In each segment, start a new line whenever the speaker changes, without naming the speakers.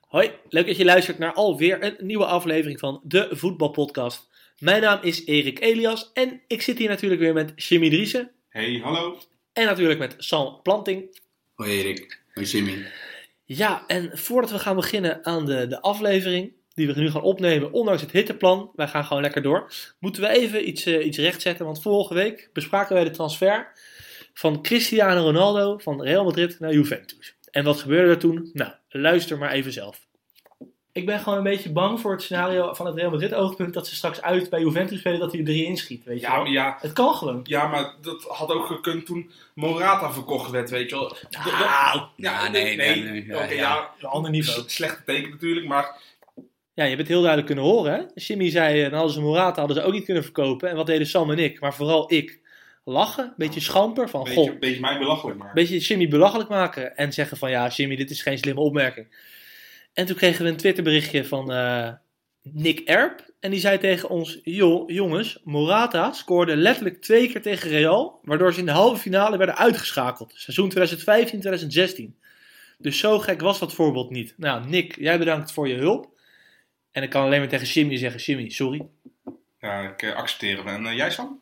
Hoi, leuk dat je luistert naar alweer een nieuwe aflevering van de Voetbalpodcast. Mijn naam is Erik Elias en ik zit hier natuurlijk weer met Jimmy Driessen
Hey, hallo.
en natuurlijk met Sam Planting.
Hoi Erik. Hoi Jimmy.
Ja, en voordat we gaan beginnen aan de, de aflevering, die we nu gaan opnemen, ondanks het hitteplan, wij gaan gewoon lekker door, moeten we even iets, eh, iets rechtzetten. Want vorige week bespraken wij de transfer van Cristiano Ronaldo van Real Madrid naar Juventus. En wat gebeurde er toen? Nou, luister maar even zelf. Ik ben gewoon een beetje bang voor het scenario van het Real Madrid oogpunt dat ze straks uit bij Juventus spelen dat hij er drie inschiet, weet je
Ja,
wel.
maar, ja,
Het kan gewoon.
ja, maar dat had ook gekund toen Morata verkocht werd, weet je wel. D- dat-
Ja, Ah, nee, nee, nee, ja,
Oké, ja,
ja.
een ander
s- slechte teken natuurlijk, maar
Ja, je hebt het heel duidelijk kunnen horen. Hè? Jimmy zei, eh, dan hadden ze Morata hadden ze ook niet kunnen verkopen. En wat deden Sam en ik, maar vooral ik, lachen. Een beetje schamper van,
Oh,
een
goh,
beetje,
een
beetje mij belachelijk. Maar.
beetje Jimmy belachelijk maken. En zeggen van, ja Jimmy, dit is geen slimme opmerking. En toen kregen we een Twitterberichtje van eh, Nick Erp. En die zei tegen ons, joh jongens, Morata scoorde letterlijk twee keer tegen Real. Waardoor ze in de halve finale werden uitgeschakeld. Seizoen 2015-2016. Dus zo gek was dat voorbeeld niet. Nou Nick, jij bedankt voor je hulp. En ik kan alleen maar tegen Jimmy zeggen: Jimmy, sorry.
Ja, ik eh, accepteer hem. En eh, jij, Sam?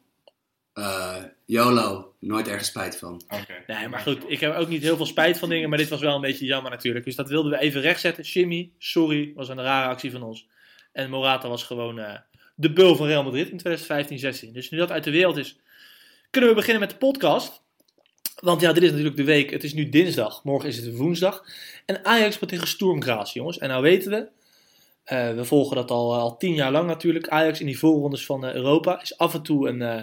Eh, YOLO. Nooit ergens spijt van.
Oké.
Nee, maar
Dank je
goed,
wel.
ik heb ook niet heel veel spijt van dingen, maar dit was wel een beetje jammer natuurlijk. Dus dat wilden we even rechtzetten. Jimmy, sorry, was een rare actie van ons. En Morata was gewoon eh, de beul van Real Madrid in 2015-16. Dus nu dat uit de wereld is, kunnen we beginnen met de podcast. Want ja, dit is natuurlijk de week. Het is nu dinsdag, morgen is het woensdag. En Ajax speelt tegen Sturm Graz, jongens. En nou weten we, eh, we volgen dat al, al tien jaar lang natuurlijk. Ajax in die voorrondes van eh, Europa is af en toe een... eh,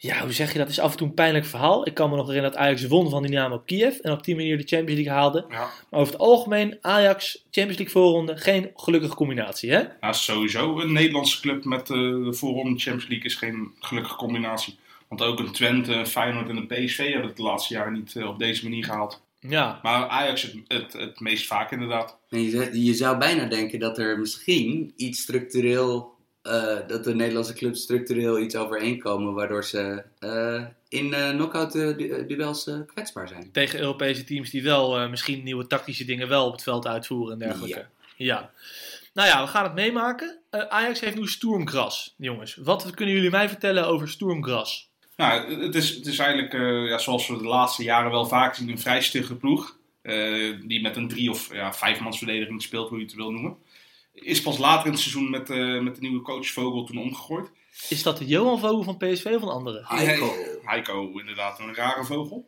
ja, hoe zeg je dat? Is af en toe een pijnlijk verhaal. Ik kan me nog herinneren dat Ajax won van Dynamo Kiev en op die manier de Champions League haalde.
Ja,
Maar over het algemeen, Ajax, Champions League voorronde, geen gelukkige combinatie, hè?
nou, sowieso een Nederlandse club met eh, de voorronde Champions League is geen gelukkige combinatie. Want ook een Twente, Feyenoord en een PSV hebben het de laatste jaren niet eh, op deze manier gehaald.
Ja.
Maar Ajax het, het, het meest vaak inderdaad.
En je, zou- je zou bijna denken dat er misschien iets structureel... eh, dat de Nederlandse clubs structureel iets overeenkomen... waardoor ze eh, in eh knock-out eh, du- eh, duels eh, kwetsbaar zijn.
Tegen Europese teams die wel eh, misschien nieuwe tactische dingen wel op het veld uitvoeren en dergelijke. Ja. Nou ja, we gaan het meemaken. Eh, Ajax heeft nu Sturmgras, jongens. Wat kunnen jullie mij vertellen over Sturmgras?
Nou, het is, het is eigenlijk, eh, ja, zoals we de laatste jaren wel vaak zien, een vrij stugge ploeg. Eh, die met een drie- of ja, vijfmansverdediging speelt, hoe je het wil noemen. Is pas later in het seizoen met, eh, met de nieuwe coach Vogel toen omgegooid.
Is dat de Johan Vogel van PSV of een andere?
Heiko.
Heiko, inderdaad, een rare vogel.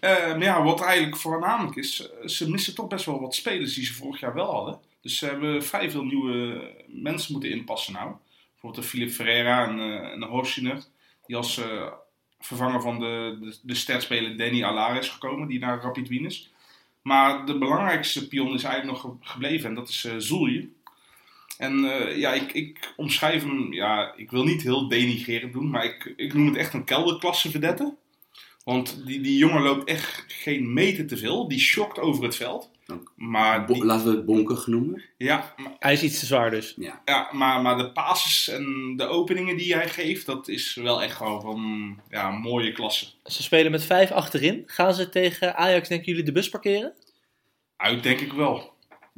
Eh, maar ja, wat eigenlijk voornamelijk is, eh, ze missen toch best wel wat spelers die ze vorig jaar wel hadden. Dus ze hebben vrij veel nieuwe mensen moeten inpassen nou. Bijvoorbeeld de Philip Ferreira en, eh en de Horsiner, die als eh, vervanger van de, de, de sterspeler Danny Alar is gekomen, die naar Rapid Wien is. Maar de belangrijkste pion is eigenlijk nog ge- gebleven en dat is eh Zoelje. En eh, ja, ik, ik omschrijf hem, ja, ik wil niet heel denigrerend doen, maar ik, ik noem het echt een kelderklasse verdette. Want die, die jongen loopt echt geen meter te veel. Die shockt over het veld.
Ook.
Maar,
Bo-
die-
laten we het bonkig noemen.
ja, maar
Hij is iets te zwaar dus.
ja, maar, maar de passes en de openingen die hij geeft, dat is wel echt gewoon van ja, mooie klasse.
Ze spelen met vijf achterin. Gaan ze tegen Ajax, denken jullie, de bus parkeren?
Uit denk ik wel.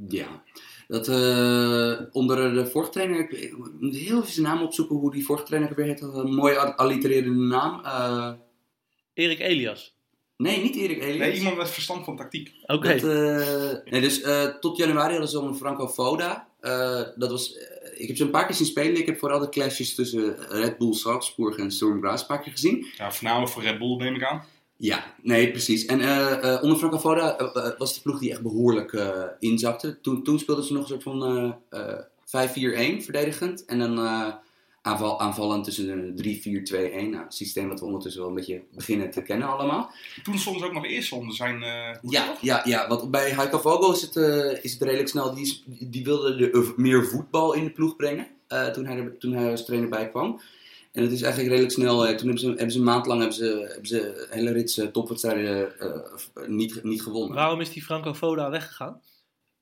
Ja. Dat, eh, onder de vorige trainer, ik- ik moet heel even zijn naam opzoeken hoe die vorige trainer ook weer heet. Dat had een mooi al- allitererende naam. Eh,
Erik Elias.
nee, niet Erik Elias.
Nee, iemand met verstand van tactiek.
Oké.
Dat, eh, nee, dus eh, tot januari hadden ze al een Franco Foda. Eh, dat was, eh, ik heb ze een paar keer zien spelen. Ik heb vooral de clashes tussen Red Bull Salzburg en Storm Graz een paar keer gezien.
Ja, voornamelijk voor Red Bull neem ik aan.
Ja, nee, precies. En eh, eh, onder Franco Foda eh, eh, was de ploeg die echt behoorlijk eh, inzakte. Toen, toen speelden ze nog een soort van eh, eh, 5-4-1 verdedigend. En dan eh, aanval, aanvallend tussen de 3-4-2-1. Nou, het systeem dat we ondertussen wel een beetje beginnen te kennen allemaal.
Toen soms ook nog eerst onder zijn... eh, hoe
Ja,
dat?
ja, ja want bij Heiko Vogel is het, eh, is het redelijk snel. Die, is- die wilde de, eh, meer voetbal in de ploeg brengen eh, toen, hij er, toen hij als trainer bij kwam. En dat is eigenlijk redelijk snel. eh, toen hebben ze, hebben ze een maand lang hebben ze, hebben ze een hele rits eh, topwedstrijden eh, eh, niet, niet gewonnen.
Waarom is die Franco Foda weggegaan?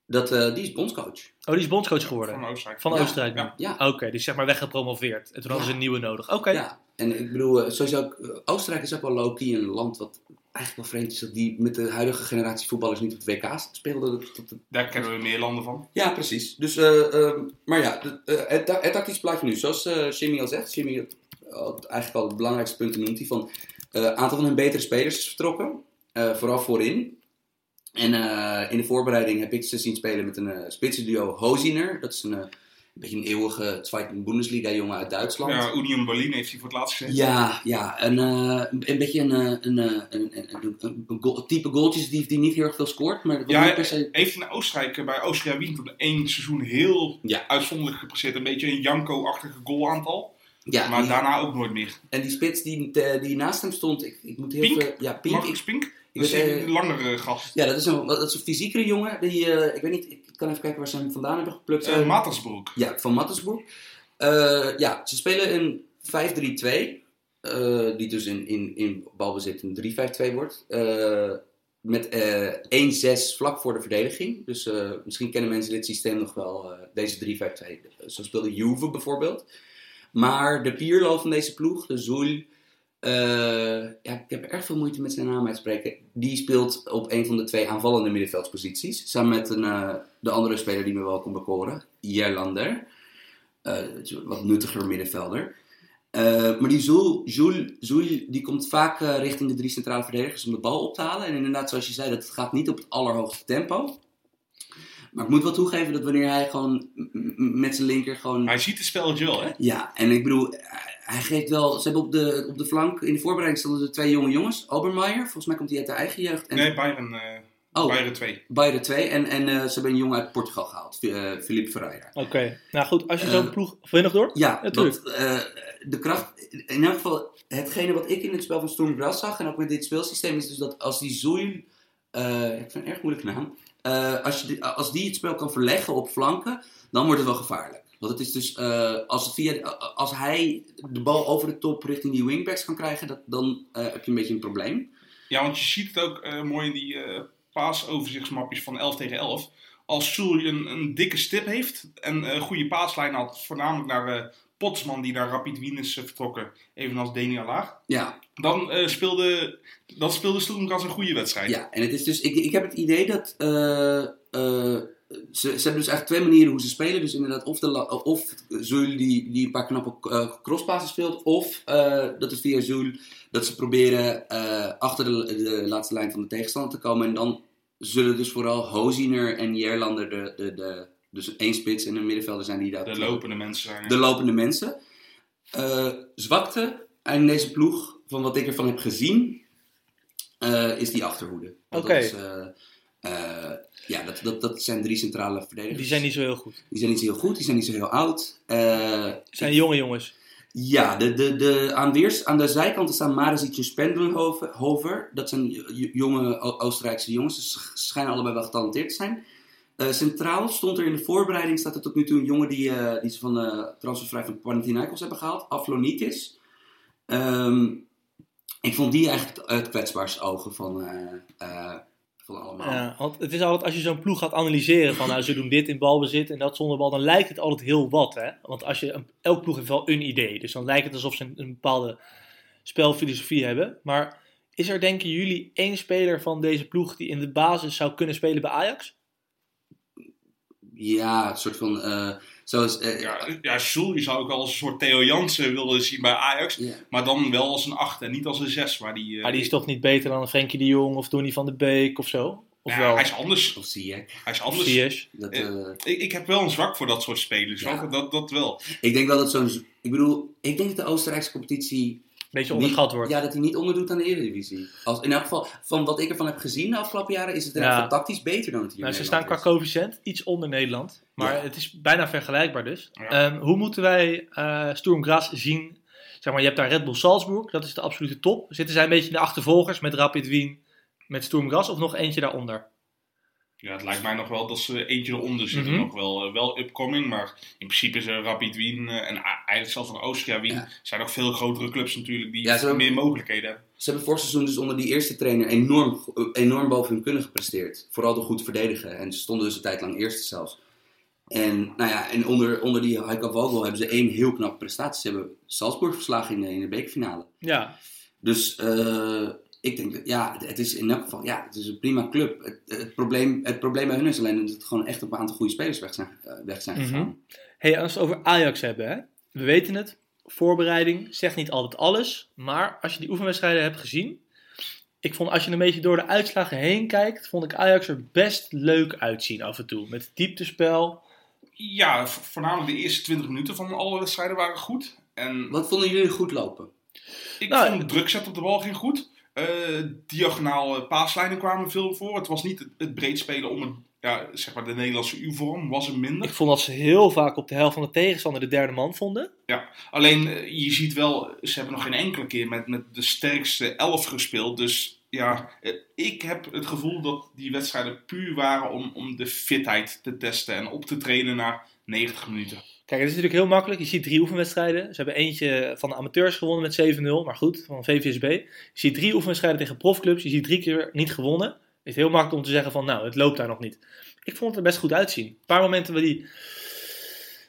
Dat, eh, die is bondscoach.
Oh, die is bondscoach geworden.
Van Oostenrijk.
Van
Ja,
Oostenrijk nu.
ja,
ja.
Oké, dus zeg maar weggepromoveerd. En toen hadden ze
Ja.
een nieuwe nodig. Oké.
Ja, en ik bedoel, eh, sowieso ook, eh, Oostenrijk is ook wel low-key een land wat eigenlijk wel vreemd is dat die met de huidige generatie voetballers niet op de WK's speelden. Dat- dat- dat-
Daar kennen we meer landen van.
Ja, precies. Dus, eh, eh, maar ja, de- eh, het, ta- het tactisch plaatje nu. Zoals eh Jimmy al zegt, Jimmy had, had eigenlijk al het belangrijkste punt genoemd. Die van eh aantal van hun betere spelers is vertrokken, eh, vooral voorin. En eh, in de voorbereiding heb ik ze zien spelen met een eh spitsenduo Hoziner. Dat is een, eh, een beetje een eeuwige Zweite Bundesliga jongen uit Duitsland.
Ja, Union Berlin heeft hij voor het laatst gezeten.
Ja, ja. Een, eh, een beetje een, eh, een, eh, een, een, een- een goal- type goaltjes die, die niet heel erg veel scoort, maar
Ja,
ja, niet per se...
Heeft in Oostenrijk eh, bij Austria Wien toen één seizoen heel
Ja.
uitzonderlijk gepresteerd. Een beetje een Janko-achtige goalaantal.
Ja,
maar
die-
daarna ook nooit meer.
en die spits die, eh, die naast hem stond, ik, ik moet heel
Pink?
veel... Ja, Pink.
Marcus
Ik,
Pink?
ik
Dat is
weet,
een
eh,
langere gast.
ja, dat is, een, dat is een fysiekere jongen. Die, eh, ik weet niet, ik kan even kijken waar ze hem vandaan hebben geplukt.
Eh,
Eh,
Matersbroek.
ja, van Mattersburg. Eh, ja, ze spelen in 5-3-2. eh, die dus in, in, in balbezit een 3-5-2 wordt. Eh, met eh 1-6 vlak voor de verdediging. Dus eh, misschien kennen mensen dit systeem nog wel. eh, deze 3-5-2. Zo speelde Juve bijvoorbeeld. Maar de Pierlo van deze ploeg, de Zoel. eh, ja, ik heb erg veel moeite met zijn naam uitspreken. Die speelt op een van de twee aanvallende middenveldsposities. Samen met een, eh, de andere speler die me wel kon bekoren, Jerlander. Eh, het is een wat nuttiger middenvelder. Eh, maar die Zoel, Zoel, Zoel die komt vaak eh, richting de drie centrale verdedigers om de bal op te halen. En inderdaad, zoals je zei, dat gaat niet op het allerhoogste tempo. Maar ik moet wel toegeven dat wanneer hij gewoon m- m- met zijn linker gewoon
Hij ziet het spelletje wel, hè?
ja, en ik bedoel, hij- hij geeft wel. Ze hebben op de, op de flank in de voorbereiding stonden er twee jonge jongens. Obermeijer, volgens mij komt hij uit de eigen jeugd. En,
Nee, Bayern, eh
oh,
Bayern 2.
Bayern 2. En, en eh, ze hebben een jongen uit Portugal gehaald, Fi- eh Felipe Ferreira.
Oké, nou goed, als je zo'n
Eh,
ploeg... Wil je nog door?
Ja,
Ja,
dat,
tuurlijk.
eh, de kracht. In elk geval, hetgene wat ik in het spel van Storm Gras zag, en ook met dit speelsysteem, is dus dat als die Zoel. eh, ik vind een erg moeilijke naam. eh, als, je, die- als die het spel kan verleggen op flanken, dan wordt het wel gevaarlijk. Want het is dus, eh, als, het via, als hij de bal over de top richting die wingbacks kan krijgen, dat, dan eh, heb je een beetje een probleem.
Ja, want je ziet het ook eh, mooi in die eh paasoverzichtsmapjes van 11 tegen 11. Als Sully een, een dikke stip heeft en een goede paaslijn had, voornamelijk naar eh, Potsman die naar Rapid Wien is eh, vertrokken, evenals Denia Laag.
Ja,
Dan eh, speelde, dan speelde Stoelmkans een goede wedstrijd.
ja, en het is dus, ik, ik heb het idee dat. eh, eh, ze, ze hebben dus eigenlijk twee manieren hoe ze spelen. Dus inderdaad, of, de, la- of Zul die, die een paar knappe eh crosspassen speelt, of eh, dat is via Zul dat ze proberen eh, achter de, de laatste lijn van de tegenstander te komen. En dan zullen dus vooral Hoziner en Jerlander, de, de, de, dus één spits en een middenvelder zijn die dat
De lopende mensen zijn.
de lopende mensen. Eh, zwakte in deze ploeg, van wat ik ervan heb gezien, eh, is die achterhoede. Want
Oké.
Dat is, eh, eh, ja, dat, dat, dat zijn drie centrale verdedigers.
Die zijn niet zo heel goed.
Die zijn niet zo heel goed, die zijn niet zo heel oud. Eh,
Het zijn jonge jongens.
ja, de, de, de, aan, weers, aan de zijkanten staan Marisic en Spendelhover. Hover. Dat zijn j- jonge O- Oostenrijkse jongens, dus ze sch- schijnen allebei wel getalenteerd te zijn. Eh, centraal stond er in de voorbereiding, staat er tot nu toe een jongen die, eh, die ze van de transfervrij van Panathinaikos hebben gehaald, Aflonitis. Ehm, ik vond die eigenlijk het, het kwetsbaarste ogen van, eh, eh, van allemaal.
Ja, want het is altijd, als je zo'n ploeg gaat analyseren van nou, ze doen dit in balbezit en dat zonder bal, dan lijkt het altijd heel wat. Hè? Want als je, een- elk ploeg heeft wel een idee, dus dan lijkt het alsof ze een, een bepaalde spelfilosofie hebben. Maar is er denken jullie één speler van deze ploeg die in de basis zou kunnen spelen bij Ajax?
Ja, het soort van. eh, zoals, eh,
Ja, ja Sully zou ik wel als een soort Theo Jansen willen zien bij Ajax.
ja.
Maar dan wel als een 8 en niet als een 6. Waar die, eh,
Maar Ah, die is toch niet beter dan een Frenkie de Jong of Donny van de Beek of zo? Of
Ja,
wel?
Hij is anders.
Of zie ik.
Hij is
Of
anders.
Ziyech?
Dat,
Eh,
eh,
Ik, ik heb wel een zwak voor dat soort spelers.
Ja.
hoor. Dat, dat wel.
Ik denk wel dat zo'n. Ik bedoel, ik denk dat de Oostenrijkse competitie.
beetje onderschat
niet-
wordt.
Ja, dat hij niet onderdoet aan de Eredivisie. Als, in elk geval, van wat ik ervan heb gezien de afgelopen jaren, is het in elk
Ja.
geval tactisch beter dan het hier.
Nou,
in
ze staan
Nederland
qua
is.
coëfficiënt iets onder Nederland. Maar
Ja.
het is bijna vergelijkbaar dus.
Ja.
Ehm, hoe moeten wij eh Sturm Graz zien? Zeg maar, je hebt daar Red Bull Salzburg. Dat is de absolute top. Zitten zij een beetje in de achtervolgers met Rapid Wien, met Sturm Graz of nog eentje daaronder?
Ja, het lijkt mij nog wel dat ze eentje eronder zitten.
Mhm.
Nog wel, eh, wel upcoming, maar in principe is er Rapid Wien eh, en a- eigenlijk zelfs van Austria Wien.
Ja.
zijn nog veel grotere clubs natuurlijk die
Ja, ze-
meer mogelijkheden hebben.
Ze hebben vorig seizoen dus onder die eerste trainer enorm, go- eh, enorm boven hun kunnen gepresteerd. Vooral door goed verdedigen. En ze stonden dus een tijd lang eerste zelfs. En, nou ja, en onder, onder die Heiko Vogel hebben ze één heel knappe prestatie. Ze hebben Salzburg verslagen in de, in de bekerfinale.
Ja,
Dus eh, ik denk, dat- ja, het- het is in elk geval, ja, het is een prima club. Het, het probleem, het probleem bij hun is alleen dat het gewoon echt op een aantal goede spelers weg zijn, eh, weg zijn
Mhm.
gegaan.
hey, als we het over Ajax hebben, hè? we weten het, voorbereiding zegt niet altijd alles. Maar als je die oefenwedstrijden hebt gezien, ik vond als je een beetje door de uitslagen heen kijkt, vond ik Ajax er best leuk uitzien af en toe. Met dieptespel.
Ja, vo- voornamelijk de eerste 20 minuten van alle wedstrijden waren goed. En
Wat vonden jullie goed lopen?
Ik
Nou,
vond de drukzet op de bal ging goed. Eh, diagonaal eh, paaslijnen kwamen veel voor. Het was niet het, het breed spelen om een, ja, zeg maar de Nederlandse U-vorm was er minder.
Ik vond dat ze heel vaak op de helft van de tegenstander de derde man vonden.
Alleen eh, je ziet wel, ze hebben nog geen enkele keer met, met de sterkste elf gespeeld. Dus ja, eh, ik heb het gevoel dat die wedstrijden puur waren om, om de fitheid te testen en op te trainen naar 90 minuten.
Kijk, het is natuurlijk heel makkelijk. Je ziet drie oefenwedstrijden. Ze hebben eentje van de amateurs gewonnen met 7-0, maar goed, van VVSB. Je ziet drie oefenwedstrijden tegen profclubs. Je ziet drie keer niet gewonnen. Het is heel makkelijk om te zeggen van, nou, het loopt daar nog niet. Ik vond het er best goed uitzien. Een paar momenten waar die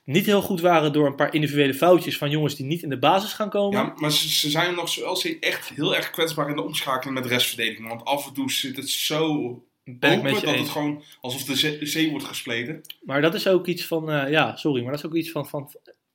niet heel goed waren door een paar individuele foutjes van jongens die niet in de basis gaan komen.
Ja, maar ze, ze zijn nog wel steeds echt heel erg kwetsbaar in de omschakeling met restverdediging. Want af en toe zit het zo
ben ik
Hopen
met je
dat
eens.
het gewoon alsof de zee, de zee wordt gespleten.
Maar dat is ook iets van, eh, ja, sorry, maar dat is ook iets van, van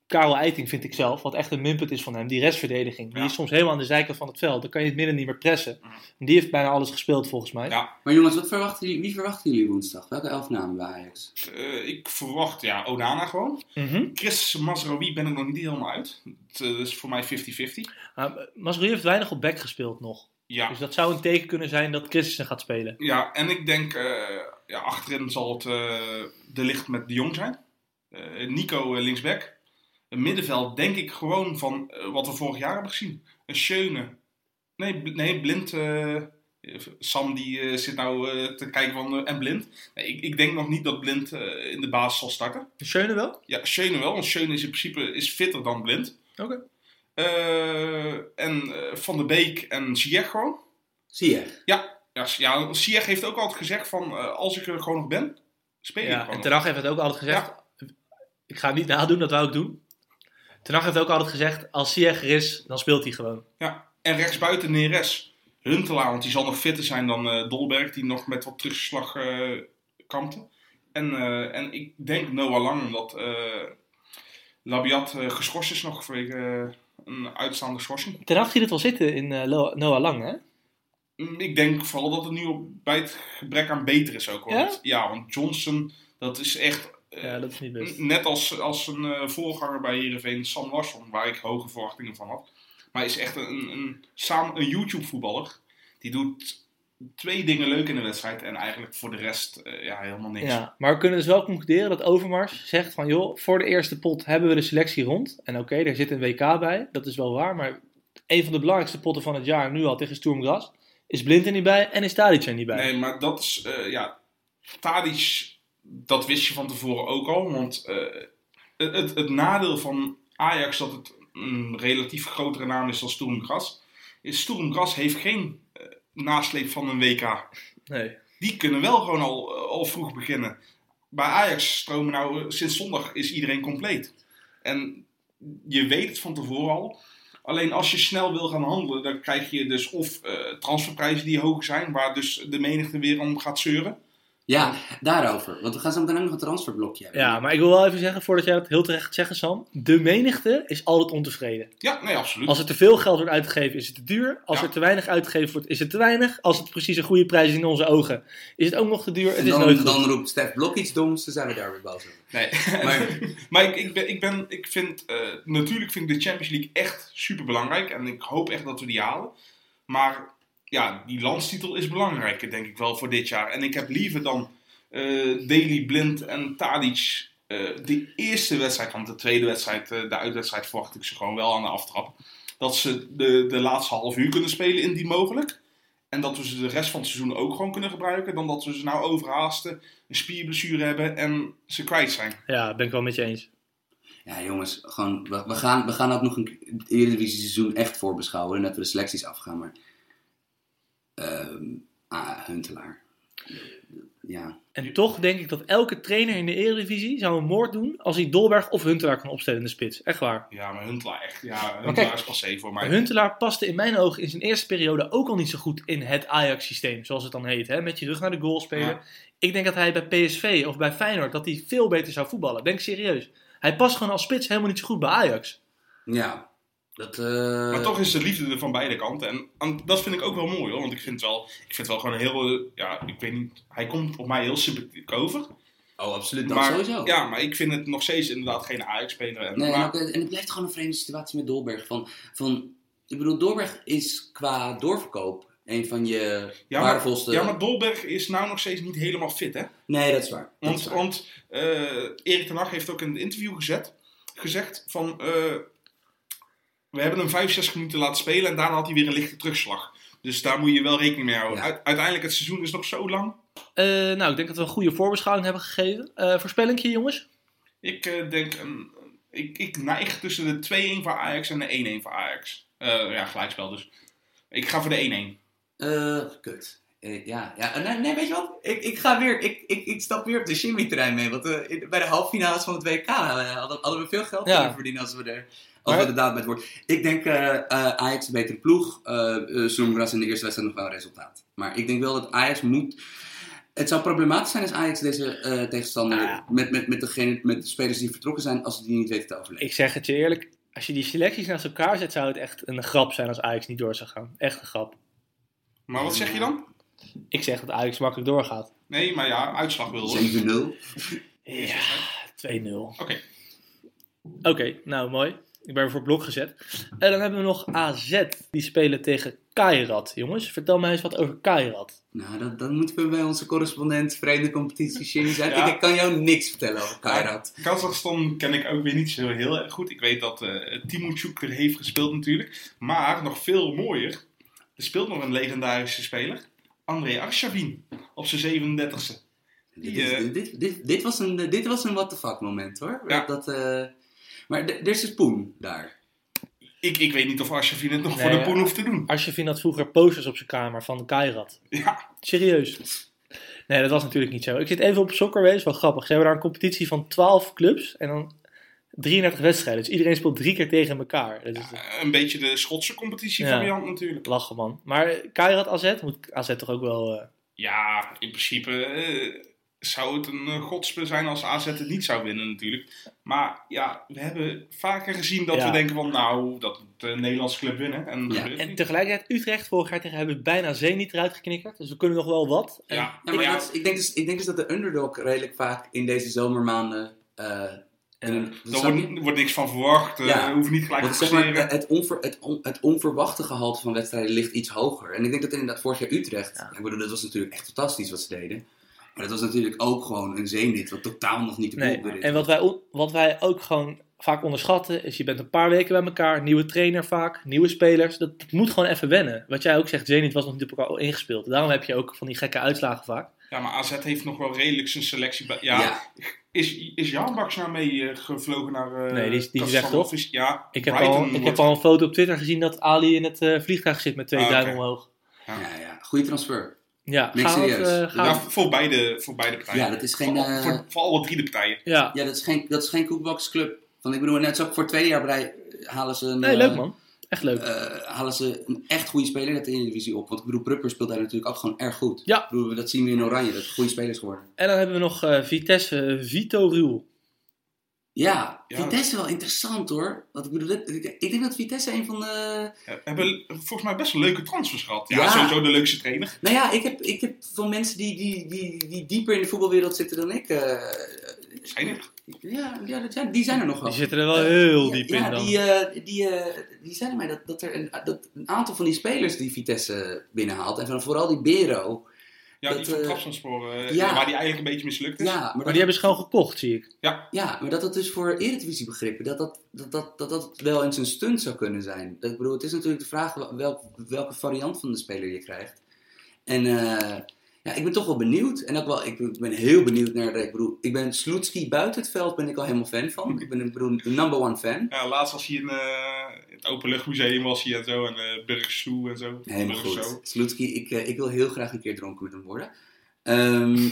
Karel Eiting, vind ik zelf, wat echt een minpunt is van hem. Die restverdediging, die
Ja.
is soms helemaal aan de zijkant van het veld. Dan kan je het midden niet meer pressen.
Mhm.
En die heeft bijna alles gespeeld volgens mij.
Ja.
Maar jongens, wat verwachten jullie, wie verwachten jullie woensdag? Welke elf namen bij Ajax?
Eh, ik verwacht, ja, Onana gewoon.
Mhm.
Chris Masraoui ben ik nog niet helemaal uit. Het eh, is voor mij 50-50.
Maar Masrui Ah, heeft weinig op back gespeeld nog.
Ja.
Dus dat zou een teken kunnen zijn dat Christensen gaat spelen.
ja, en ik denk, eh, ja, achterin zal het eh, de licht met de Jong zijn. Eh, Nico eh, linksback. Een middenveld denk ik gewoon van eh, wat we vorig jaar hebben gezien. Een Schöne. Nee, bl- nee blind. eh, Sam die eh, zit nou eh, te kijken van eh, en blind. Nee, ik, ik denk nog niet dat blind eh, in de basis zal starten.
Schöne wel?
Ja, Schöne wel, want Schöne is in principe is fitter dan Blind.
Oké.
Eh, en eh, Van der Beek en Ziyech gewoon.
Zie je?
Ja, S- ja, Ziyech heeft ook altijd gezegd van, eh, als ik er gewoon nog ben, speel ik
Ja,
gewoon
en
nog.
Ten Hag heeft het ook altijd gezegd. Ik ga het niet nadoen, dat wou ik doen. Ten Hag heeft ook altijd gezegd, als Ziyech er is, dan speelt hij gewoon.
En rechtsbuiten Neres. Huntelaar, want die zal nog fitter zijn dan eh, Dolberg, die nog met wat terugslag eh, kampte. En, eh, en ik denk Noah Lang, omdat eh, Labiat eh, geschorst is nog vanwege eh, een uitstaande schorsing.
Ten Hag ziet het wel zitten in eh, Lo- Noah Lang, hè?
Mm, Ik denk vooral dat het nu op, bij het gebrek aan beter is ook. hoor.
Ja?
Want, ja, want Johnson, dat is echt... eh,
Ja, dat is niet best.
n- Net als, als een eh, voorganger bij Heerenveen, Sam Larsson, waar ik hoge verwachtingen van had. Maar is echt een, een, saam- een YouTube-voetballer. Die doet twee dingen leuk in de wedstrijd en eigenlijk voor de rest eh, ja, helemaal niks.
Ja, maar we kunnen dus wel concluderen dat Overmars zegt van joh, voor de eerste pot hebben we de selectie rond. En oké, daar zit een WK bij, dat is wel waar. Maar een van de belangrijkste potten van het jaar nu al tegen Sturm Graz is Blind er niet bij en is Tadic er niet bij.
Nee, maar dat is, eh, ja, Tadic, dat wist je van tevoren ook al. Want eh, het, het nadeel van Ajax, dat het een relatief grotere naam is dan Sturm Graz, is Sturm Graz heeft geen eh, nasleep van een WK.
Nee.
Die kunnen wel gewoon al, eh, al vroeg beginnen. Bij Ajax stromen nou, eh, sinds zondag is iedereen compleet. En je weet het van tevoren al. Alleen als je snel wil gaan handelen, dan krijg je dus of eh, transferprijzen die hoog zijn, waar dus de menigte weer om gaat zeuren.
Ja, daarover. Want we gaan zo meteen ook nog een transferblokje hebben.
Ja, maar ik wil wel even zeggen, voordat jij dat heel terecht gaat zeggen Sam, de menigte is altijd ontevreden.
Ja, nee, absoluut.
Als er te veel geld wordt uitgegeven is het te duur. Als
Ja.
er te weinig uitgegeven wordt is het te weinig. Als het precies een goede prijs is in onze ogen is het ook nog te duur. Het
En
is nooit
dan,
goed.
dan roept Stef Blok iets doms, dan zijn we daar weer boos over.
Nee.
Maar-
Maar, maar ik, ik, ben, ik, ben, ik vind, eh, natuurlijk vind ik de Champions League echt super belangrijk. En ik hoop echt dat we die halen. Maar ja, die landstitel is belangrijker, denk ik wel, voor dit jaar. En ik heb liever dan eh Daily Blind en Tadic eh, de eerste wedstrijd, want de tweede wedstrijd, eh, de uitwedstrijd, verwacht ik ze gewoon wel aan de aftrap. Dat ze de, de laatste half uur kunnen spelen, indien mogelijk. En dat we ze de rest van het seizoen ook gewoon kunnen gebruiken. Dan dat we ze nou overhaasten, een spierblessure hebben en ze kwijt zijn.
Ja, ben ik wel met je eens.
Ja, jongens, gewoon, we, we gaan, we gaan ook nog een het Eredivisie-seizoen echt voorbeschouwen. En dat we de selecties afgaan, maar... ehm ah, Huntelaar. Ja.
En toch denk ik dat elke trainer in de Eredivisie zou een moord doen als hij Dolberg of Huntelaar kan opstellen in de spits. Echt waar.
Ja, maar Huntelaar echt. Ja, Huntelaar is passé voor mij.
Maar Huntelaar paste in mijn ogen in zijn eerste periode ook al niet zo goed in het Ajax-systeem, zoals het dan heet. Hè? Met je rug naar de goal spelen.
Ja.
Ik denk dat hij bij PSV of bij Feyenoord dat hij veel beter zou voetballen. Ben ik serieus. Hij past gewoon als spits helemaal niet zo goed bij Ajax.
Ja. Dat, eh,
Maar toch is de liefde er van beide kanten. En, en dat vind ik ook wel mooi hoor. Want ik vind het wel, ik vind het wel gewoon een heel. eh, Ja, ik weet niet. Hij komt op mij heel sympathiek over.
Oh, absoluut. Dat
Maar,
sowieso.
ja, maar ik vind het nog steeds inderdaad geen Ajax-speler. En,
Nee, en,
maar-
ook, eh, en het blijft gewoon een vreemde situatie met Dolberg. Van, van, ik bedoel, Dolberg is qua doorverkoop een van je
ja, maar-
waardevolste...
ja, maar Dolberg is nou nog steeds niet helemaal fit, hè?
Nee, dat is waar. Dat
Want,
is waar.
want eh, Erik ten Hag heeft ook in een interview gezet, gezegd van... eh, we hebben hem 65 minuten laten spelen en daarna had hij weer een lichte terugslag. Dus daar moet je wel rekening mee houden.
Ja.
Uit- uiteindelijk, het seizoen is nog zo lang.
Eh, nou, ik denk dat we een goede voorbeschouwing hebben gegeven. Eh voorspellingje, jongens.
Ik eh, denk... een- ik, ik neig tussen de 2-1 voor Ajax en de 1-1 voor Ajax. Eh, ja, gelijkspel dus. Ik ga voor de 1-1.
Eh, kut. Eh, ja, ja. Eh, Nee, nee, weet je wat? Ik, ik ga weer... Ik, ik, ik stap weer op de Jimmy-terrein mee. Want eh, in- bij de halffinales van het WK eh, hadden, hadden we veel geld
Ja.
kunnen verdienen als we er... Als
Maar-
we inderdaad met wordt. Ik denk eh, eh, Ajax een betere ploeg. eh eh, Zoemgras in de eerste wedstrijd nog wel een resultaat. Maar ik denk wel dat Ajax moet... Het zou problematisch zijn als Ajax deze eh, tegenstander...
Nou ja.
Met, met, met, degene, met de spelers die vertrokken zijn... Als ze die niet weten te overleven.
Ik zeg het je eerlijk. Als je die selecties naast elkaar zet, zou het echt een grap zijn als Ajax niet door zou gaan. Echt een grap.
Maar wat zeg je dan?
Ik zeg dat Ajax makkelijk doorgaat.
Nee, maar ja, uitslag wil hoor.
7-0.
Ja, 2-0. Oké.
Oké.
Oké, nou mooi. Ik ben weer voor blok gezet. En dan hebben we nog AZ. Die spelen tegen Kairat. Jongens, vertel mij eens wat over Kairat.
Nou, dat, dat moeten we bij onze correspondent vreemde competitie Jimmy zijn.
Ja.
Ik, ik kan jou niks vertellen over Kairat.
Kazachstan ken ik ook weer niet zo heel erg goed. Ik weet dat eh Timochuk er heeft gespeeld natuurlijk. Maar nog veel mooier, er speelt nog een legendarische speler. André Arshavin op zijn 37e.
Dit,
Die,
is-
eh,
dit, dit, dit was een, dit was een what the fuck moment hoor.
Ja.
Dat, eh, maar d- er is een poen daar.
Ik, ik weet niet of Arshavin het nog
Nee,
voor de
ja.
poen hoeft te doen.
Arsjevin had vroeger posters op zijn kamer van Kairat.
Ja,
Serieus. Nee, dat was natuurlijk niet zo. Ik zit even op soccerwees, wel grappig. Ze hebben daar een competitie van 12 clubs en dan 33 wedstrijden. Dus iedereen speelt drie keer tegen elkaar. Dat is
een beetje de Schotse competitie
Ja.
variant natuurlijk.
lachen, man. Maar Kairat AZ moet AZ toch ook wel... eh,
Ja, in principe eh, zou het een eh, godspe zijn als AZ het niet zou winnen natuurlijk. Maar ja, we hebben vaker gezien dat
Ja.
we denken van nou, dat moet de Nederlandse club winnen. En, dat
Ja.
gebeurt
En
niet.
tegelijkertijd, Utrecht vorig jaar tegen hebben we bijna Zenit eruit geknikkerd. Dus we kunnen nog wel wat. En
ja,
Ja, maar dat is- ik, denk dus, ik denk dus dat de underdog redelijk vaak in deze zomermaanden. eh en, dat
Daar
snap
wordt,
je?
er wordt niks van verwacht. eh,
Ja.
we hoeven niet gelijk te
Want zeg maar,
presteren.
het, onver, het, on- het onverwachte gehalte van wedstrijden ligt iets hoger. En ik denk dat inderdaad vorig jaar Utrecht.
Ja.
Ik bedoel, dat was natuurlijk echt fantastisch wat ze deden. Maar dat was natuurlijk ook gewoon een zenit, wat totaal nog niet de boel
Nee,
bereikt.
en wat wij, on- wat wij ook gewoon vaak onderschatten, is je bent een paar weken bij elkaar, nieuwe trainer vaak, nieuwe spelers. Dat, dat moet gewoon even wennen. Wat jij ook zegt, Zenit was nog niet op elkaar ingespeeld. Daarom heb je ook van die gekke uitslagen vaak.
Ja, maar AZ heeft nog wel redelijk zijn selectie. bij- Ja, Is, is Jan Baks nou mee eh, gevlogen naar... eh
Nee, die is- die is
Kazachstan?
weg, toch?
Of is- Ja,
Ik heb,
Brighton
al, ik heb
wordt-
al een foto op Twitter gezien dat Ali in het eh, vliegtuig zit met twee
Ah, oké.
duimen omhoog.
ja, ja, ja. Goede transfer.
Ja,
Niks
gaat,
serieus.
eh,
Ja,
gaat.
voor voor beide, voor beide partijen.
Ja, dat is geen,
Voor, al-
eh,
voor, voor alle drie de partijen.
Ja.
Ja, dat is geen, dat is geen koekbaksclub. Want ik bedoel, net zo voor het tweede jaar bij halen ze een,
Nee, leuk
eh,
man. Echt leuk.
eh, halen ze een echt goede speler uit de Eredivisie op. Want ik bedoel, Prupper speelt daar natuurlijk ook gewoon erg goed.
Ja.
Ik bedoel, dat zien we in Oranje, dat het goede spelers geworden.
En dan hebben we nog eh, Vitesse eh, Vito Ruul.
Ja,
Ja.
Vitesse wel interessant hoor. Want ik bedoel, dit- ik, ik denk dat Vitesse een van de...
Ja, we hebben volgens mij best wel leuke transfers gehad. Ja,
Ja.
sowieso de leukste trainer.
Nou ja, ik heb, ik heb van mensen die, die, die, die dieper in de voetbalwereld zitten dan ik. eh,
Zijn er?
ja, ja, dat- ja, die zijn er nog wel.
Die zitten er wel heel
Eh, Ja,
diep
ja,
in dan.
die, eh, die, eh, die zeiden mij dat, dat er een, dat een aantal van die spelers die Vitesse binnenhaalt, en van- vooral die Bero,
Ja,
Dat,
die van
eh,
Trabzonspor, eh,
ja.
waar die eigenlijk een beetje mislukt is.
ja, maar
Maar
dat,
die hebben ze gewoon gekocht, zie ik.
ja, maar dat dat dus voor Eredivisie begrippen, dat dat, dat, dat, dat dat wel eens een stunt zou kunnen zijn. Dat, ik bedoel, het is natuurlijk de vraag wel- welk, welke variant van de speler je krijgt. En eh, ja, ik ben toch wel benieuwd. En ook wel, ik ben- ik ben heel benieuwd naar, de- ik bedoel, ik ben Sloetski buiten het veld ben ik al helemaal fan van. Ik ben ik bedoel, de number one fan.
Ja, laatst was hij in eh, het Openluchtmuseum was hij en zo. En eh Burgersoe en zo.
Helemaal
Burgersoe.
goed. Sloetski, ik, eh, ik wil heel graag een keer dronken met hem worden. Ehm,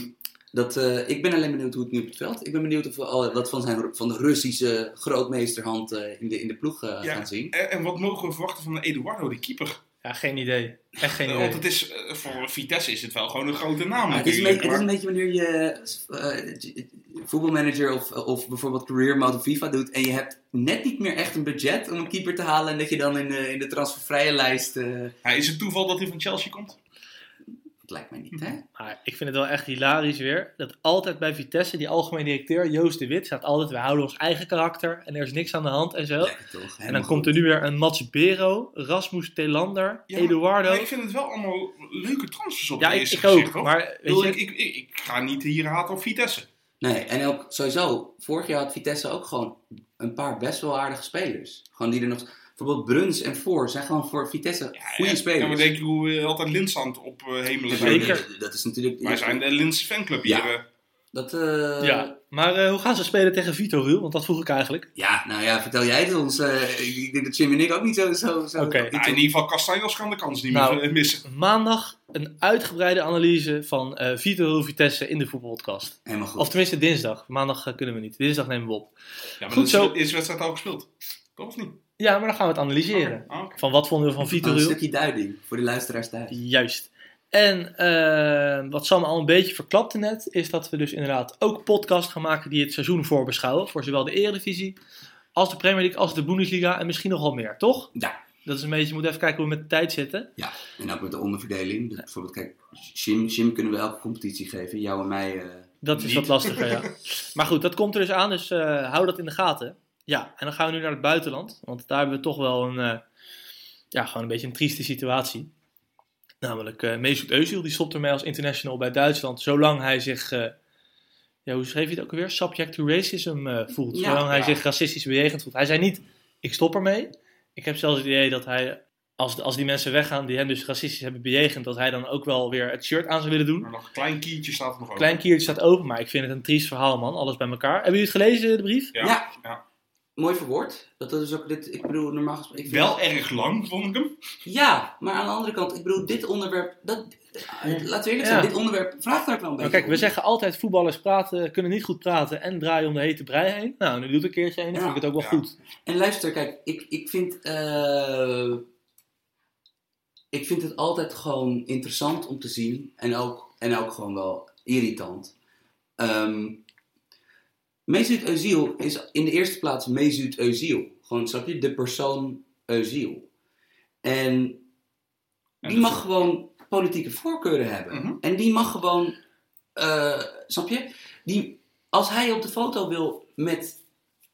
Dat, eh, ik ben alleen benieuwd hoe het nu op het veld. Ik ben benieuwd of we al wat van, zijn, van de Russische grootmeesterhand eh, in, de, in de ploeg eh,
Ja.
gaan zien.
En, en wat mogen we verwachten van Eduardo, de keeper?
Ja, geen idee. Echt geen idee.
Want het is, eh, voor Vitesse is het wel gewoon een grote naam
Maar het, is een
natuurlijk.
beetje, het is
maar-
een beetje wanneer je eh, voetbalmanager of, of bijvoorbeeld career mode of FIFA doet en je hebt net niet meer echt een budget om een keeper te halen en dat je dan in de, in de transfervrije lijst... eh,
Ja, is het toeval dat hij van Chelsea komt?
dat lijkt mij niet, hè?
Maar ik vind het wel echt hilarisch weer. Dat altijd bij Vitesse, die algemeen directeur Joost de Wit, staat altijd: we houden ons eigen karakter en er is niks aan de hand en zo.
Lekker toch?
en dan komt er nu weer een Mats Bero, Rasmus Telander,
Ja,
Eduardo.
Maar ik vind het wel allemaal leuke transfers op
ja,
het
ik,
eerste
ik ook.
gezicht, hoor.
maar
Ik,
weet
bedoel,
je,
ik, ik, ik, ik ga niet hier haten op Vitesse.
Nee, en ook sowieso, vorig jaar had Vitesse ook gewoon een paar best wel aardige spelers. Gewoon die er nog... Bijvoorbeeld Bruns en Voor zijn gewoon voor Vitesse goede
En-
spelers.
En we denken hoe eh, altijd Linsand op eh, hemelen
Dus
zijn.
Zeker.
dat- Dat is natuurlijk...
Wij zijn de Linse fanclub
Ja.
hier. eh.
Dat, eh, ja.
ja. maar eh, hoe gaan ze spelen tegen Vito Ruul? Want dat vroeg ik eigenlijk.
nou ja, vertel jij het ons. eh, ik, ik denk dat Jim en ik ook niet zo... zo, zo
Oké.
iets
Nou, in
op-
ieder geval, Castanjos kan de kans niet
Nou.
meer eh, missen.
Maandag een uitgebreide analyse van eh Vito Ruul Vitesse in de voetbalpodcast.
Helemaal goed.
Of tenminste dinsdag. Maandag eh, kunnen we niet. Dinsdag nemen we op.
Ja, maar
Goed
Goed
zo.
zo. is de wedstrijd al gespeeld. Toch of niet?
Ja, maar dan gaan we het analyseren.
Ah, oké.
Van wat vonden we van Vito
Oh, een
Ruul?
stukje duiding voor de luisteraars thuis.
Juist. En eh, wat Sam al een beetje verklapte net, is dat we dus inderdaad ook podcasts gaan maken die het seizoen voorbeschouwen. Voor zowel de Eredivisie, als de Premier League, als de Bundesliga en misschien nogal meer, toch?
Ja.
Dat is een beetje, je moet even kijken hoe we met de tijd zitten.
En ook met de onderverdeling. Dus bijvoorbeeld, kijk, Jim, Jim kunnen we elke competitie geven. Jou en mij... eh,
Dat is
Niet.
wat lastiger, ja. Maar goed, dat komt er dus aan, dus eh, hou dat in de gaten. Ja, en dan gaan we nu naar het buitenland, want daar hebben we toch wel een, eh, ja, gewoon een beetje een trieste situatie. Namelijk eh Mesut Özil, die stopt ermee als international bij Duitsland, zolang hij zich, eh, ja, hoe schreef je het ook alweer, subject to racism eh, voelt.
Ja,
zolang hij
ja.
zich racistisch bejegend voelt. Hij zei niet, ik stop ermee. Ik heb zelfs het idee dat hij, als, als die mensen weggaan die hem dus racistisch hebben bejegend, dat hij dan ook wel weer het shirt aan zou willen doen.
Maar nog een klein kiertje staat er nog over.
Klein kiertje staat open, maar ik vind het een triest verhaal, man. Alles bij elkaar. Hebben jullie het gelezen, de brief?
Ja,
Ja.
ja.
Mooi verwoord. Dat is ook dit, ik bedoel, normaal gesproken... ik vind-
Wel erg lang, vond ik hem.
Ja, maar aan de andere kant, ik bedoel, dit onderwerp... Dat, eh, laten we eerlijk
Ja.
zijn, dit onderwerp vraagt daar ook wel
Maar
een beetje
Nou, kijk, we
om.
zeggen altijd voetballers praten, kunnen niet goed praten en draaien om de hete brei heen. Nou, nu doet een keertje een, dan
Ja.
vind ik het ook wel
Ja.
goed.
En luister, kijk, ik, ik vind... eh, ik vind het altijd gewoon interessant om te zien. En ook, en ook gewoon wel irritant. Ehm Mesut Özil is in de eerste plaats Mesut Özil. Gewoon, snap je? De persoon Özil. En
En
die
dat-
mag gewoon politieke voorkeuren hebben.
Mhm.
En die mag gewoon, eh, snap je? Die, als hij op de foto wil met,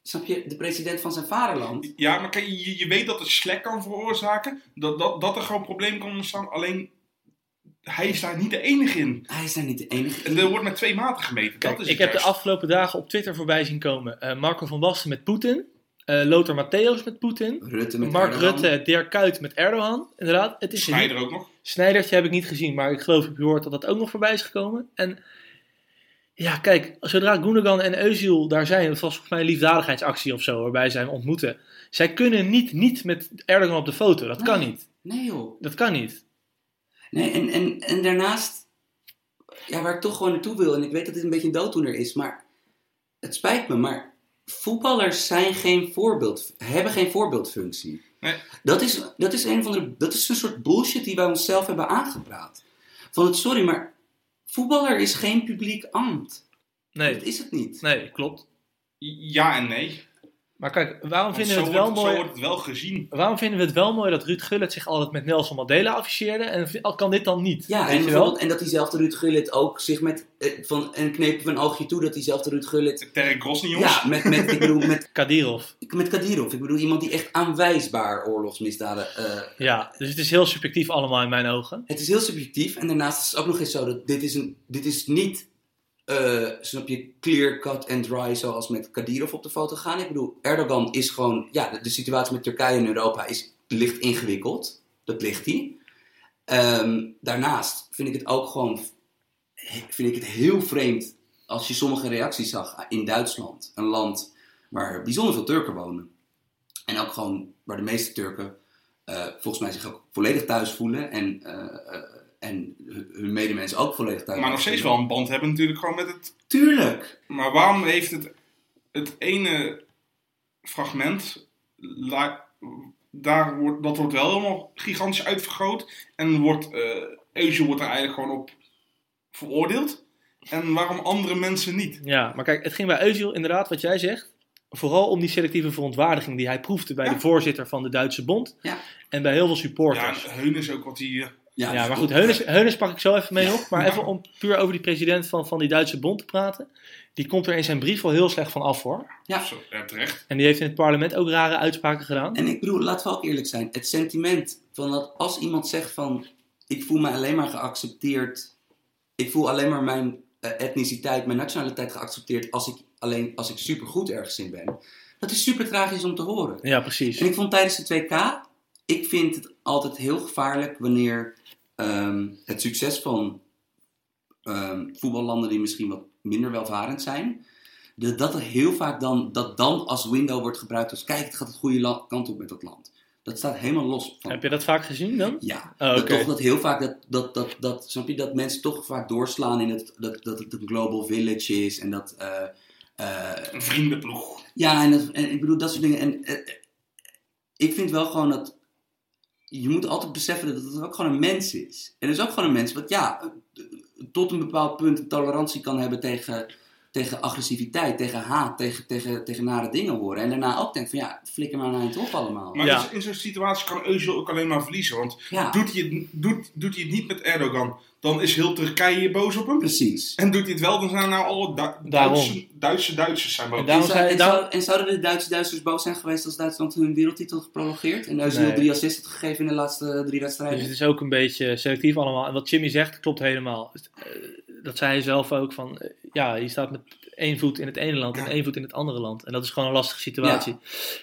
snap je, de president van zijn vaderland.
Ja, maar kijk, je, je weet dat het slek kan veroorzaken. Dat, dat, dat er gewoon een probleem kan ontstaan. Alleen, hij is daar niet de enige in.
Hij is daar niet de enige.
En er wordt met twee maten gemeten.
Kijk,
dat is
ik
het
heb de
juist.
afgelopen dagen op Twitter voorbij zien komen eh, Marco van Basten met Poetin, eh Lothar Matthäus met Poetin,
Rutte met
Mark
Erdogan.
Rutte, Dirk Kuyt met Erdogan. Inderdaad, het is
Snijder ook nog.
Snijdertje heb ik niet gezien, maar ik geloof ik hoort dat dat ook nog voorbij is gekomen. En ja, kijk, zodra Gundogan en Özil daar zijn, dat was volgens mij een liefdadigheidsactie of zo, waarbij zij hem ontmoeten. Zij kunnen niet niet met Erdogan op de foto. Dat kan
Nee.
niet.
Nee joh.
Dat kan niet.
Nee, en, en, en daarnaast, ja, waar ik toch gewoon naartoe wil. En ik weet dat dit een beetje een dooddoener is, maar het spijt me, maar voetballers zijn geen voorbeeld, hebben geen voorbeeldfunctie.
Nee.
Dat is, dat is een van de, dat is een soort bullshit die wij onszelf hebben aangepraat. Van het sorry, maar voetballer is geen publiek ambt. Dat
Nee,
is het niet.
nee, klopt.
Ja en nee.
Maar kijk, waarom
Want
vinden
zo,
we het wel
wordt, zo
mooi?
wordt het wel gezien.
Waarom vinden we het wel mooi dat Ruud Gullit zich altijd met Nelson Mandela afficheerde en v- kan dit dan niet?
Ja, en,
weet je wel?
bijvoorbeeld- en dat diezelfde Ruud Gullit ook zich met, eh, van een kneepje van een oogje toe, dat diezelfde Ruud Gullit,
Terry Grosny, jongens.
ja, met, met, ik bedoel, met
Kadirov.
Ik- Met Kadirov, ik bedoel iemand die echt aanwijsbaar oorlogsmisdaden. eh,
Ja, dus het is heel subjectief allemaal in mijn ogen.
het is heel subjectief en daarnaast is het ook nog eens zo dat dit is, een, dit is niet, eh, snap je, clear cut and dry zoals met Kadirov op de foto gaan. Ik bedoel, Erdogan is gewoon, ja, de, de situatie met Turkije en Europa is, ligt ingewikkeld. Dat ligt hij. Ehm, daarnaast vind ik het ook gewoon, vind ik het heel vreemd als je sommige reacties zag in Duitsland, een land waar bijzonder veel Turken wonen. En ook gewoon waar de meeste Turken eh, volgens mij zich ook volledig thuis voelen en eh, eh, en hun hun medemensen ook volledig uit.
Maar nog steeds wel een band hebben natuurlijk gewoon met het...
Tuurlijk!
Maar waarom heeft het, het ene fragment... la- daar wordt, dat wordt wel helemaal gigantisch uitvergroot. En wordt, eh Eusje wordt er eigenlijk gewoon op veroordeeld. En waarom andere mensen niet?
Ja, maar kijk, het ging bij Özil inderdaad, wat jij zegt, vooral om die selectieve verontwaardiging die hij proefde bij
Ja.
de voorzitter van de Duitse bond
Ja.
en bij heel veel
Ja,
supporters. Ja,
Heun is ook wat hier...
maar goed, Heunis, Heunis pak ik zo even mee op. Maar
Ja.
even om puur over die president van, van die Duitse bond te praten. Die komt er in zijn brief al heel slecht van af hoor.
Ja.
eh, Zo, ja, terecht.
En die heeft in het parlement ook rare uitspraken gedaan.
En ik bedoel, laten we ook eerlijk zijn. Het sentiment van dat als iemand zegt van... Ik voel me alleen maar geaccepteerd. Ik voel alleen maar mijn eh, etniciteit, mijn nationaliteit geaccepteerd... Als ik, alleen, als ik supergoed ergens in ben. Dat is super tragisch om te horen.
Ja, precies.
En ik vond tijdens de 2K... Ik vind het altijd heel gevaarlijk wanneer ehm, het succes van ehm, voetballanden... die misschien wat minder welvarend zijn... Dat, dat er heel vaak dan, dat dan als window wordt gebruikt als... Kijk, het gaat de goede la- kant op met dat land. Dat staat helemaal los van...
Heb je dat vaak gezien dan?
Ja,
Oh,
dat
oké.
toch dat heel vaak dat, dat, dat, dat, snap je, dat mensen toch vaak doorslaan in het, dat, dat het een global village is en dat, eh, eh,
Een vriendenploeg.
ja, en, dat- en ik bedoel, dat soort dingen. En eh, eh, ik vind wel gewoon dat. Je moet altijd beseffen dat het ook gewoon een mens is. En het is ook gewoon een mens wat, ja, eh, tot een bepaald punt een tolerantie kan hebben tegen, tegen agressiviteit, tegen haat, tegen, tegen, tegen nare dingen horen. En daarna ook denkt van, ja, flikker maar naar het op allemaal.
Maar
Ja.
dus in zo'n situatie kan Özil ook alleen maar verliezen. Want
ja,
doet hij, het, doet, doet hij het niet met Erdogan, dan is heel Turkije boos op hem.
precies.
En doet hij het wel, dan zijn nou alle Du-
Daarom.
Duitse, Duitse Duitsers zijn boos.
En daarom-
en, zou- en,
zei-
zou- en zouden de Duitse Duitsers boos zijn geweest als Duitsland hun wereldtitel had geprolongeerd? En Özil
Nee.
drie assists had gegeven in de laatste eh, drie wedstrijden?
Dus het is ook een beetje selectief allemaal. En wat Jimmy zegt, klopt helemaal. Eh, Dat zei hij zelf ook van, eh, ja, je staat met één voet in het ene land en
Ja.
één voet in het andere land. En dat is gewoon een lastige situatie.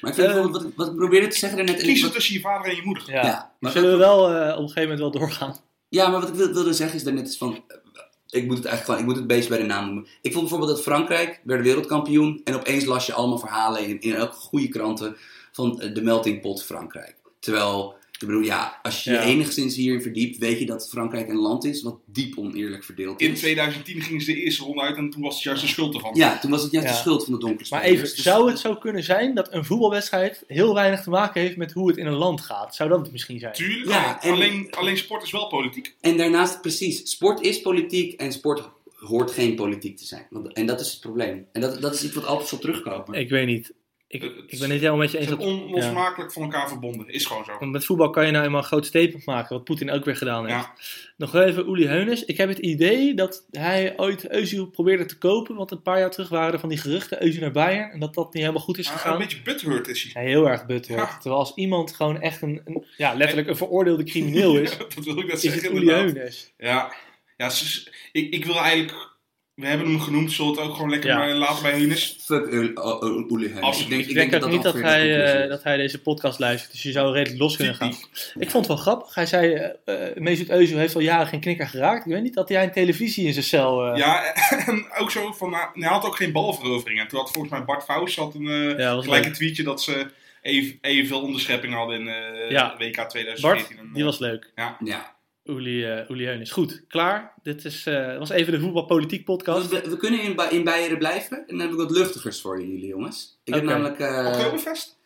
Maar ik vind
Eh,
wel wat, ik- wat ik probeerde te zeggen daarnet... en ik-
Kiezen tussen je vader en je moeder.
Ja.
Ja, maar,
Zullen we wel eh, op een gegeven moment wel doorgaan?
ja, maar wat ik wil- wilde zeggen is daarnet is van... eh, Ik moet het eigenlijk gewoon, ik moet het beest bij de naam noemen. Ik vond bijvoorbeeld dat Frankrijk werd wereldkampioen. En opeens las je allemaal verhalen in, in elke goede kranten van eh, de meltingpot Frankrijk. Terwijl, ik bedoel, ja, als je je
Ja.
enigszins hierin verdiept, weet je dat Frankrijk een land is wat diep oneerlijk verdeeld is.
In 2010 gingen ze de eerste ronde uit en toen was het juist de schuld ervan.
Ja, toen was het juist
Ja.
de schuld van de donkere
Maar
spelers.
even,
Dus-
zou het zo kunnen zijn dat een voetbalwedstrijd heel weinig te maken heeft met hoe het in een land gaat? Zou dat het misschien zijn?
Tuurlijk,
Ja,
alleen,
en-
alleen, alleen sport is wel politiek.
En daarnaast, precies, sport is politiek en sport hoort geen politiek te zijn. Want, en dat is het probleem. En dat, dat is iets wat altijd zal terugkomen.
Ik weet niet. Ik, ik ben het helemaal met je
Ze
eens
zijn
dat...
onlosmakelijk van elkaar verbonden. Is gewoon zo.
Met voetbal kan je nou eenmaal een groot statement maken, wat Poetin ook weer gedaan heeft.
Ja.
Nog even Uli Heunes. Ik heb het idee dat hij ooit Özil probeerde te kopen. Want een paar jaar terug waren er van die geruchten Özil naar Bayern. En dat dat niet helemaal goed is
Maar een
gegaan.
beetje butthurt is hij.
Ja, heel erg butthurt.
Ja.
Terwijl als iemand gewoon echt een, een- ja, letterlijk een veroordeelde crimineel is,
Dat wil ik net
is het
zeggen
Uli
inderdaad.
Heunes.
Ja, ja ze- ik, ik wil eigenlijk... We hebben hem genoemd, zullen we het ook gewoon lekker
Ja.
bij, laten bij hun is.
Fuck Ul- o- o- Uli Heun.
Absoluut.
Ik denk,
Ik denk, ook niet dat
ongeveer de
hij, eh,
conclusie is.
dat hij deze podcast luistert. Dus je zou redelijk los kunnen gaan.
Typisch.
Ik vond het wel grappig. Hij zei, eh eh, Mesut Özil heeft al jaren geen knikker geraakt. Ik weet niet, dat hij een televisie in zijn cel... eh,
Ja, en ook zo van, nou, hij had ook geen balverovering. En toen had volgens mij Bart Faust had een eh,
Ja, was
gelijk
leuk.
een tweetje dat ze even, evenveel onderschepping hadden in eh,
Ja.
WK 2014.
Bart,
En, eh,
die was leuk.
Ja.
Uli, eh Uli Heunis. Goed, klaar. Dit is, eh, was even de voetbalpolitiek podcast.
Dus we, we kunnen in, Ba- in Beieren blijven. En dan heb ik wat luchtigers voor jullie, jongens. Ik heb
Oké.
namelijk... eh
Oktoberfest?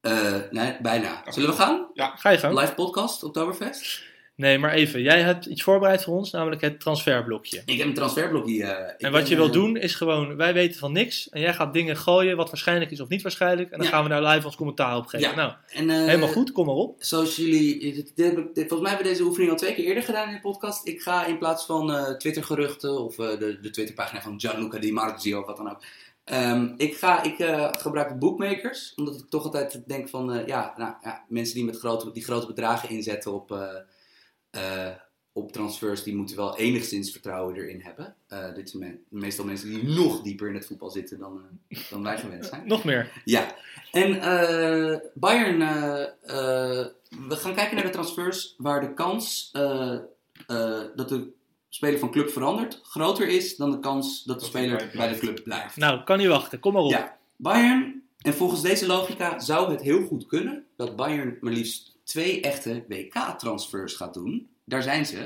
eh, nee, bijna. Zullen we gaan?
Ga je gang.
Live podcast, Oktoberfest?
Nee, maar even. Jij hebt iets voorbereid voor ons, namelijk het transferblokje.
Ik heb een transferblokje. eh ik
En
ben,
wat je
eh,
wil doen is gewoon, wij weten van niks. En jij gaat dingen gooien wat waarschijnlijk is of niet waarschijnlijk. En dan
Ja.
gaan we daar live ons commentaar op geven.
Ja.
Nou,
en, eh,
helemaal goed, kom maar op.
Zoals jullie, dit- dit heb ik- dit- volgens mij hebben we deze oefening al twee keer eerder gedaan in de podcast. Ik ga in plaats van eh, Twitter-geruchten of eh, de, de Twitterpagina van Gianluca Di Marzio of wat dan ook. ehm, ik, ga, ik eh, gebruik bookmakers, omdat ik toch altijd denk van, eh, ja, nou, ja, mensen die, met grote, die grote bedragen inzetten op, eh, eh, op transfers, die moeten wel enigszins vertrouwen erin hebben. Eh, dit zijn me- meestal mensen die nog dieper in het voetbal zitten dan, eh, dan wij gewend zijn.
Nog meer.
Ja, en eh, Bayern, eh, eh, we gaan kijken naar de transfers waar de kans eh, eh, dat de speler van club verandert groter is dan de kans dat de
Dat hij
speler
bij-
bij de club blijft.
Nou, kan niet wachten, kom maar op.
Ja, Bayern, en volgens deze logica zou het heel goed kunnen dat Bayern maar liefst twee echte WK-transfers gaat doen. Daar zijn ze.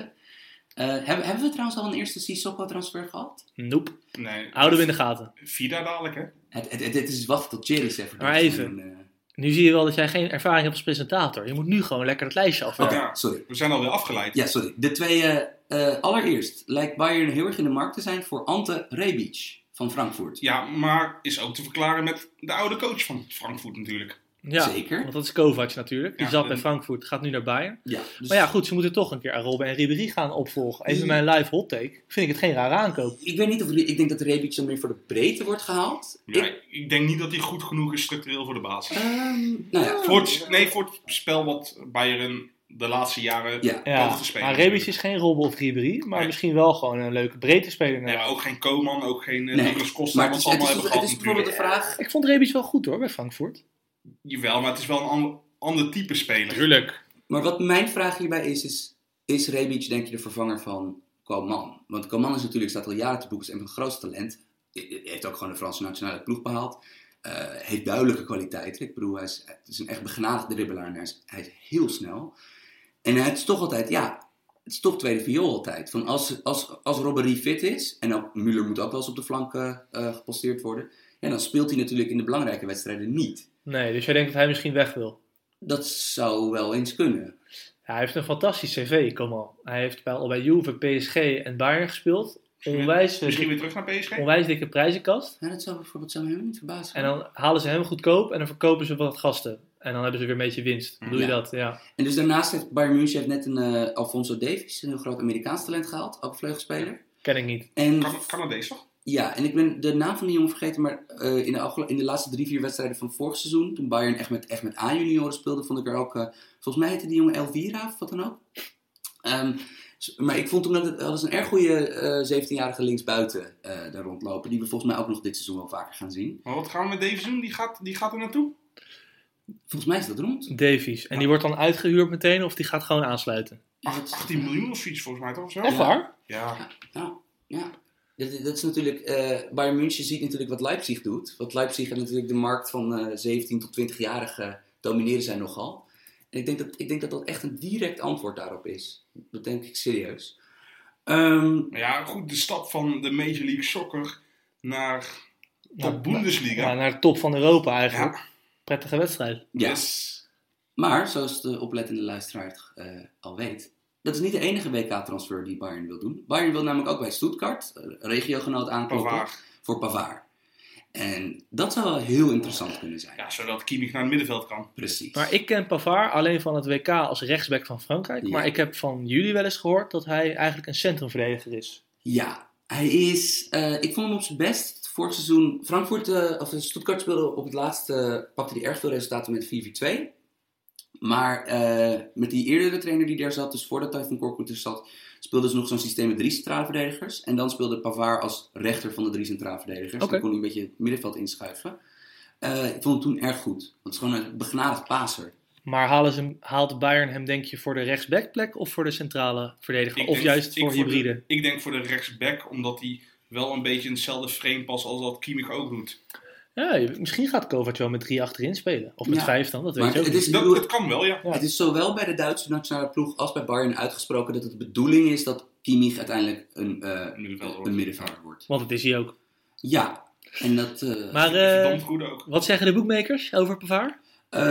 Eh, hebben, hebben we trouwens al een eerste Sissoko-transfer gehad?
Nope.
Nee.
Houden we in de gaten.
Vida dadelijk, hè?
Het, het, het, het is wachten tot Jerry zegt.
Maar even. Nu zie je wel dat jij geen ervaring hebt als presentator. Je moet nu gewoon lekker het lijstje
Eh, Oké,
afwerken.
Ja.
sorry.
We zijn alweer afgeleid.
Ja, sorry. De twee, eh, eh, allereerst lijkt Bayern heel erg in de markt te zijn voor Ante Rebic van Frankfurt.
Ja, maar is ook te verklaren met de oude coach van Frankfurt natuurlijk.
Ja,
Zeker.
Want dat is Kovac natuurlijk. Die
Ja,
zat bij
en-
Frankfurt, gaat nu naar Bayern.
Ja, dus
Maar ja, goed, ze moeten toch een keer Arobe en Ribéry gaan opvolgen.
Mm.
Even mijn live hot take. Vind ik het geen rare aankoop.
ik weet niet of ik denk dat Rebic dan meer voor de breedte wordt gehaald.
Ja,
Ik,
ik... denk niet dat hij goed genoeg is structureel voor de basis.
ehm, nou ja,
Voor het, nee, voor het spel wat Bayern de laatste jaren
Ja.
ja.
Ja,
te spelen.
maar Rebic is geen Robbe of Ribéry. Maar
Nee.
misschien wel gewoon een leuke breedte speler.
Nee, maar ook geen Koeman, ook geen eh,
Nee,
Douglas Costa,
maar
wat
het
ze
is, het is,
allemaal
het is,
hebben gehad
bijvoorbeeld de
natuurlijk.
vraag...
Ik vond Rebic wel goed hoor, bij Frankfurt.
Jawel, maar het is wel een ander, ander type speler.
Tuurlijk.
Maar wat mijn vraag hierbij is, is... Is Rebic denk je de vervanger van Coman? Want Coman is natuurlijk, staat al jaren te boeken, is een van de grootste talent. Hij heeft ook gewoon de Franse nationale ploeg behaald. Eh, heeft duidelijke kwaliteiten. Ik bedoel, hij is, het is een echt begenadigde dribbelaar en hij is, hij is heel snel. En het is toch altijd, ja, het is toch tweede viool altijd. Van als, als, als Robbery fit is, en ook Müller moet ook wel eens op de flanken eh, geposteerd worden... Ja, dan speelt hij natuurlijk in de belangrijke wedstrijden niet.
Nee, dus jij denkt dat hij misschien weg wil.
Dat zou wel eens kunnen.
Ja, hij heeft een fantastisch cv, kom al. Hij heeft bij, al bij Juve, PSG en Bayern gespeeld. Onwijs,
Misschien weer terug naar PSG?
onwijs dikke prijzenkast.
Ja, dat zou bijvoorbeeld zou me helemaal niet verbazen.
En dan halen ze hem goedkoop en dan verkopen ze wat gasten. En dan hebben ze weer een beetje winst. Doe je
Ja.
dat? Ja.
En dus daarnaast heeft Bayern München heeft net een eh, Alfonso Davies, een heel groot Amerikaans talent gehaald, ook vleugelspeler.
Ken ik niet.
En
Kan, Canadees toch?
ja, en ik ben de naam van die jongen vergeten, maar eh, in, de afgelo- in de laatste drie, vier wedstrijden van vorig seizoen, toen Bayern echt met, echt met A-junioren speelde, vond ik er ook, eh, volgens mij heette die jongen Elvira of wat dan ook. Ehm, s- maar ik vond toen dat het dat was een erg goede eh 17-jarige linksbuiten eh daar rondlopen, die we volgens mij ook nog dit seizoen wel vaker gaan zien.
Maar wat gaan we met Davies doen? Die gaat, die gaat er naartoe.
Volgens mij is dat rond.
Davies. En die wordt dan uitgehuurd meteen of die gaat gewoon aansluiten?
Ach, 18 miljoen of zoiets volgens mij toch? of zo?
Echt waar?
Ja.
Ja, ja. Dat, dat is natuurlijk, eh Bayern München ziet natuurlijk wat Leipzig doet. Want Leipzig en natuurlijk de markt van eh, 17 tot 20-jarigen domineren zij nogal. En ik denk, dat, ik denk dat dat echt een direct antwoord daarop is. Dat denk ik serieus. Ehm,
Maar ja, goed, de stap van de Major League Soccer naar de
Nou,
Bundesliga.
Ja, naar de top van Europa eigenlijk. Prettige wedstrijd.
ja.
Yes.
Maar, zoals de oplettende luisteraar eh, al weet, dat is niet de enige WK-transfer die Bayern wil doen. Bayern wil namelijk ook bij Stuttgart, eh, regiogenoot aankloppen,
Pavard.
voor Pavard. En dat zou wel heel interessant kunnen zijn.
Ja, zodat Kimmich naar het middenveld kan.
Precies.
Maar ik ken Pavard alleen van het WK als rechtsback van Frankrijk.
Ja.
Maar ik heb van jullie wel eens gehoord dat hij eigenlijk een centrumverdediger is.
Ja, hij is. eh, ik vond hem op zijn best vorig seizoen. Frankfurt, eh, of Stuttgart speelde op het laatste. eh, pakte hij erg veel resultaten met 4-4-2. Maar eh, met die eerdere trainer die daar zat, dus voordat hij van Korkut er zat, speelden ze nog zo'n systeem met drie centrale verdedigers. En dan speelde Pavard als rechter van de drie centrale verdedigers.
Oké.
Dan kon hij een beetje het middenveld inschuiven. Eh, ik vond hem toen erg goed. Want het is gewoon een begnadigd paser.
Maar halen ze hem, haalt Bayern hem denk je voor de rechtsbackplek of voor de centrale verdediger?
Ik
of
denk-
juist
ik
voor hybride?
De, ik denk voor de rechtsback, omdat hij wel een beetje in hetzelfde frame past als dat Kimmich ook doet.
Ja, je- misschien gaat Kovac wel met drie achterin spelen. Of met
Ja.
vijf dan, dat weet
Maar
je ook
het
niet.
is, ik
Dat,
bedoel,
dat kan wel, ja.
Ja.
Het is zowel bij de Duitse nationale ploeg als bij Bayern uitgesproken dat het de bedoeling is dat Kimmich uiteindelijk een, eh
Middenvelder wordt.
een middenvelder wordt.
Want het is hij ook.
Ja, en dat... eh,
Maar eh,
Verdammt goed ook.
wat zeggen de boekmakers over Pavard?
eh,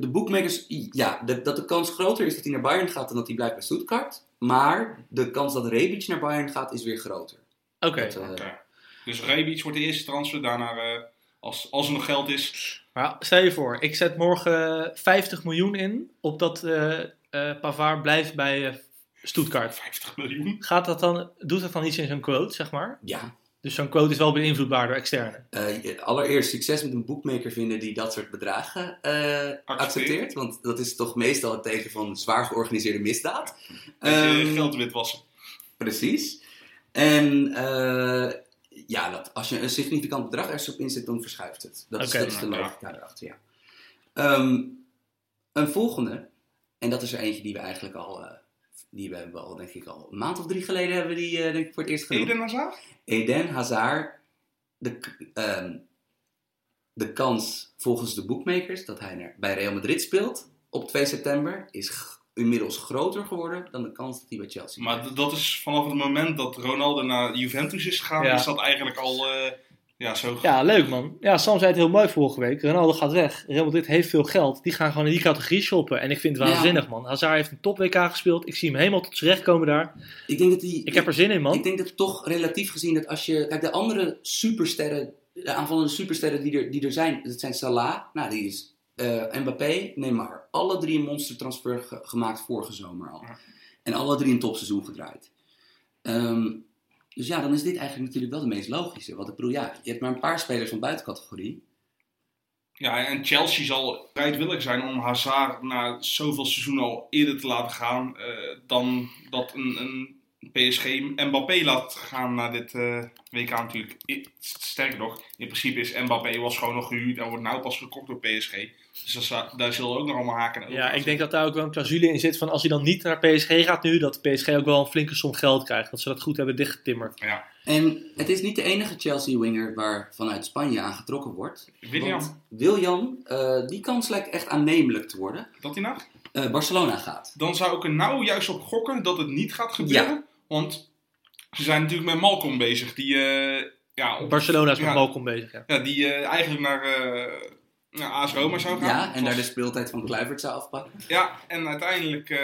de boekmakers, ja, de- dat de kans groter is dat hij naar Bayern gaat dan dat hij blijft bij Stuttgart. Maar de kans dat Rebic naar Bayern gaat is weer groter.
Oké,
Dat, eh,
Oké. Dus Rebic wordt de eerste transfer. Daarna, eh, als, als er nog geld is,
maar stel je voor, ik zet morgen 50 miljoen in op dat eh, eh, Pavard blijft bij eh, Stuttgart.
50 miljoen.
Gaat dat dan, doet dat dan iets in zo'n quote, zeg maar?
Ja,
Dus zo'n quote is wel beïnvloedbaar door externe.
eh, allereerst succes met een boekmaker vinden die dat soort bedragen eh, accepteert. Want dat is toch meestal het teken van zwaar georganiseerde misdaad.
Dat je
Ehm,
geld witwassen.
Precies. En eh, ja, dat, als je een significant bedrag ergens op inzet, dan verschuift het. Dat,
Oké,
is, dat is de
nou,
logica daarachter, ja. Ehm, een volgende, en dat is er eentje die we eigenlijk al, eh, die we hebben al denk ik al een maand of drie geleden hebben we die eh, denk ik voor het eerst genoemd.
Eden Hazard?
Eden Hazard, de, k- ehm, de kans volgens de boekmakers dat hij naar, bij Real Madrid speelt op 2 september is g- inmiddels groter geworden dan de kans dat hij bij Chelsea
Maar d- dat is vanaf het moment dat Ronaldo naar Juventus is gegaan,
Ja.
is dat eigenlijk al eh, ja, zo.
Ja, leuk man. Ja, Sam zei het heel mooi vorige week. Ronaldo gaat weg. Real Madrid heeft veel geld. Die gaan gewoon in die categorie shoppen. En ik vind het
Ja.
waanzinnig man. Hazard heeft een top WK gespeeld. Ik zie hem helemaal tot z'n recht komen daar.
Ik denk dat die,
Ik heb er zin in
Ik
man.
denk dat toch relatief gezien dat als je... Kijk, de andere supersterren, de aanvallende supersterren die er, die er zijn, dat zijn Salah, nou die is eh Mbappé, Neymar. Alle drie een monstertransfer ge- gemaakt vorige zomer al.
Ja.
En alle drie een topseizoen gedraaid. Ehm, dus ja, dan is dit eigenlijk natuurlijk wel de meest logische. Want ik bedoel, ja, je hebt maar een paar spelers van buitencategorie.
Ja, en Chelsea zal bereidwillig zijn om Hazard na zoveel seizoenen al eerder te laten gaan eh, dan dat een, een PSG Mbappé laat gaan naar dit eh, WK natuurlijk. I- Sterker nog, in principe is Mbappé was gewoon nog gehuurd en wordt nou pas gekocht door PSG. Dus dat za- daar zullen ook nog allemaal haken en ogen
Ja,
aan
ik denk dat daar ook wel een clausule in zit van als hij dan niet naar PSG gaat nu, dat PSG ook wel een flinke som geld krijgt. Dat ze dat goed hebben dichtgetimmerd.
zitten. Ja.
En het is niet de enige Chelsea-winger waar vanuit Spanje aan getrokken wordt.
William,
Want William, eh, die kans lijkt echt aannemelijk te worden.
dat hij nou?
Eh, Barcelona gaat.
Dan zou ik er nou juist op gokken dat het niet gaat gebeuren. Want ze zijn natuurlijk met Malcolm bezig. Die, eh, ja, op-
Barcelona is met
Ja.
Malcolm bezig. Ja.
Ja, die eh, eigenlijk naar, eh naar AS Roma zou gaan.
Ja, en daar de
Zoals-
speeltijd van Kluivert zou afpakken.
Ja, en uiteindelijk eh,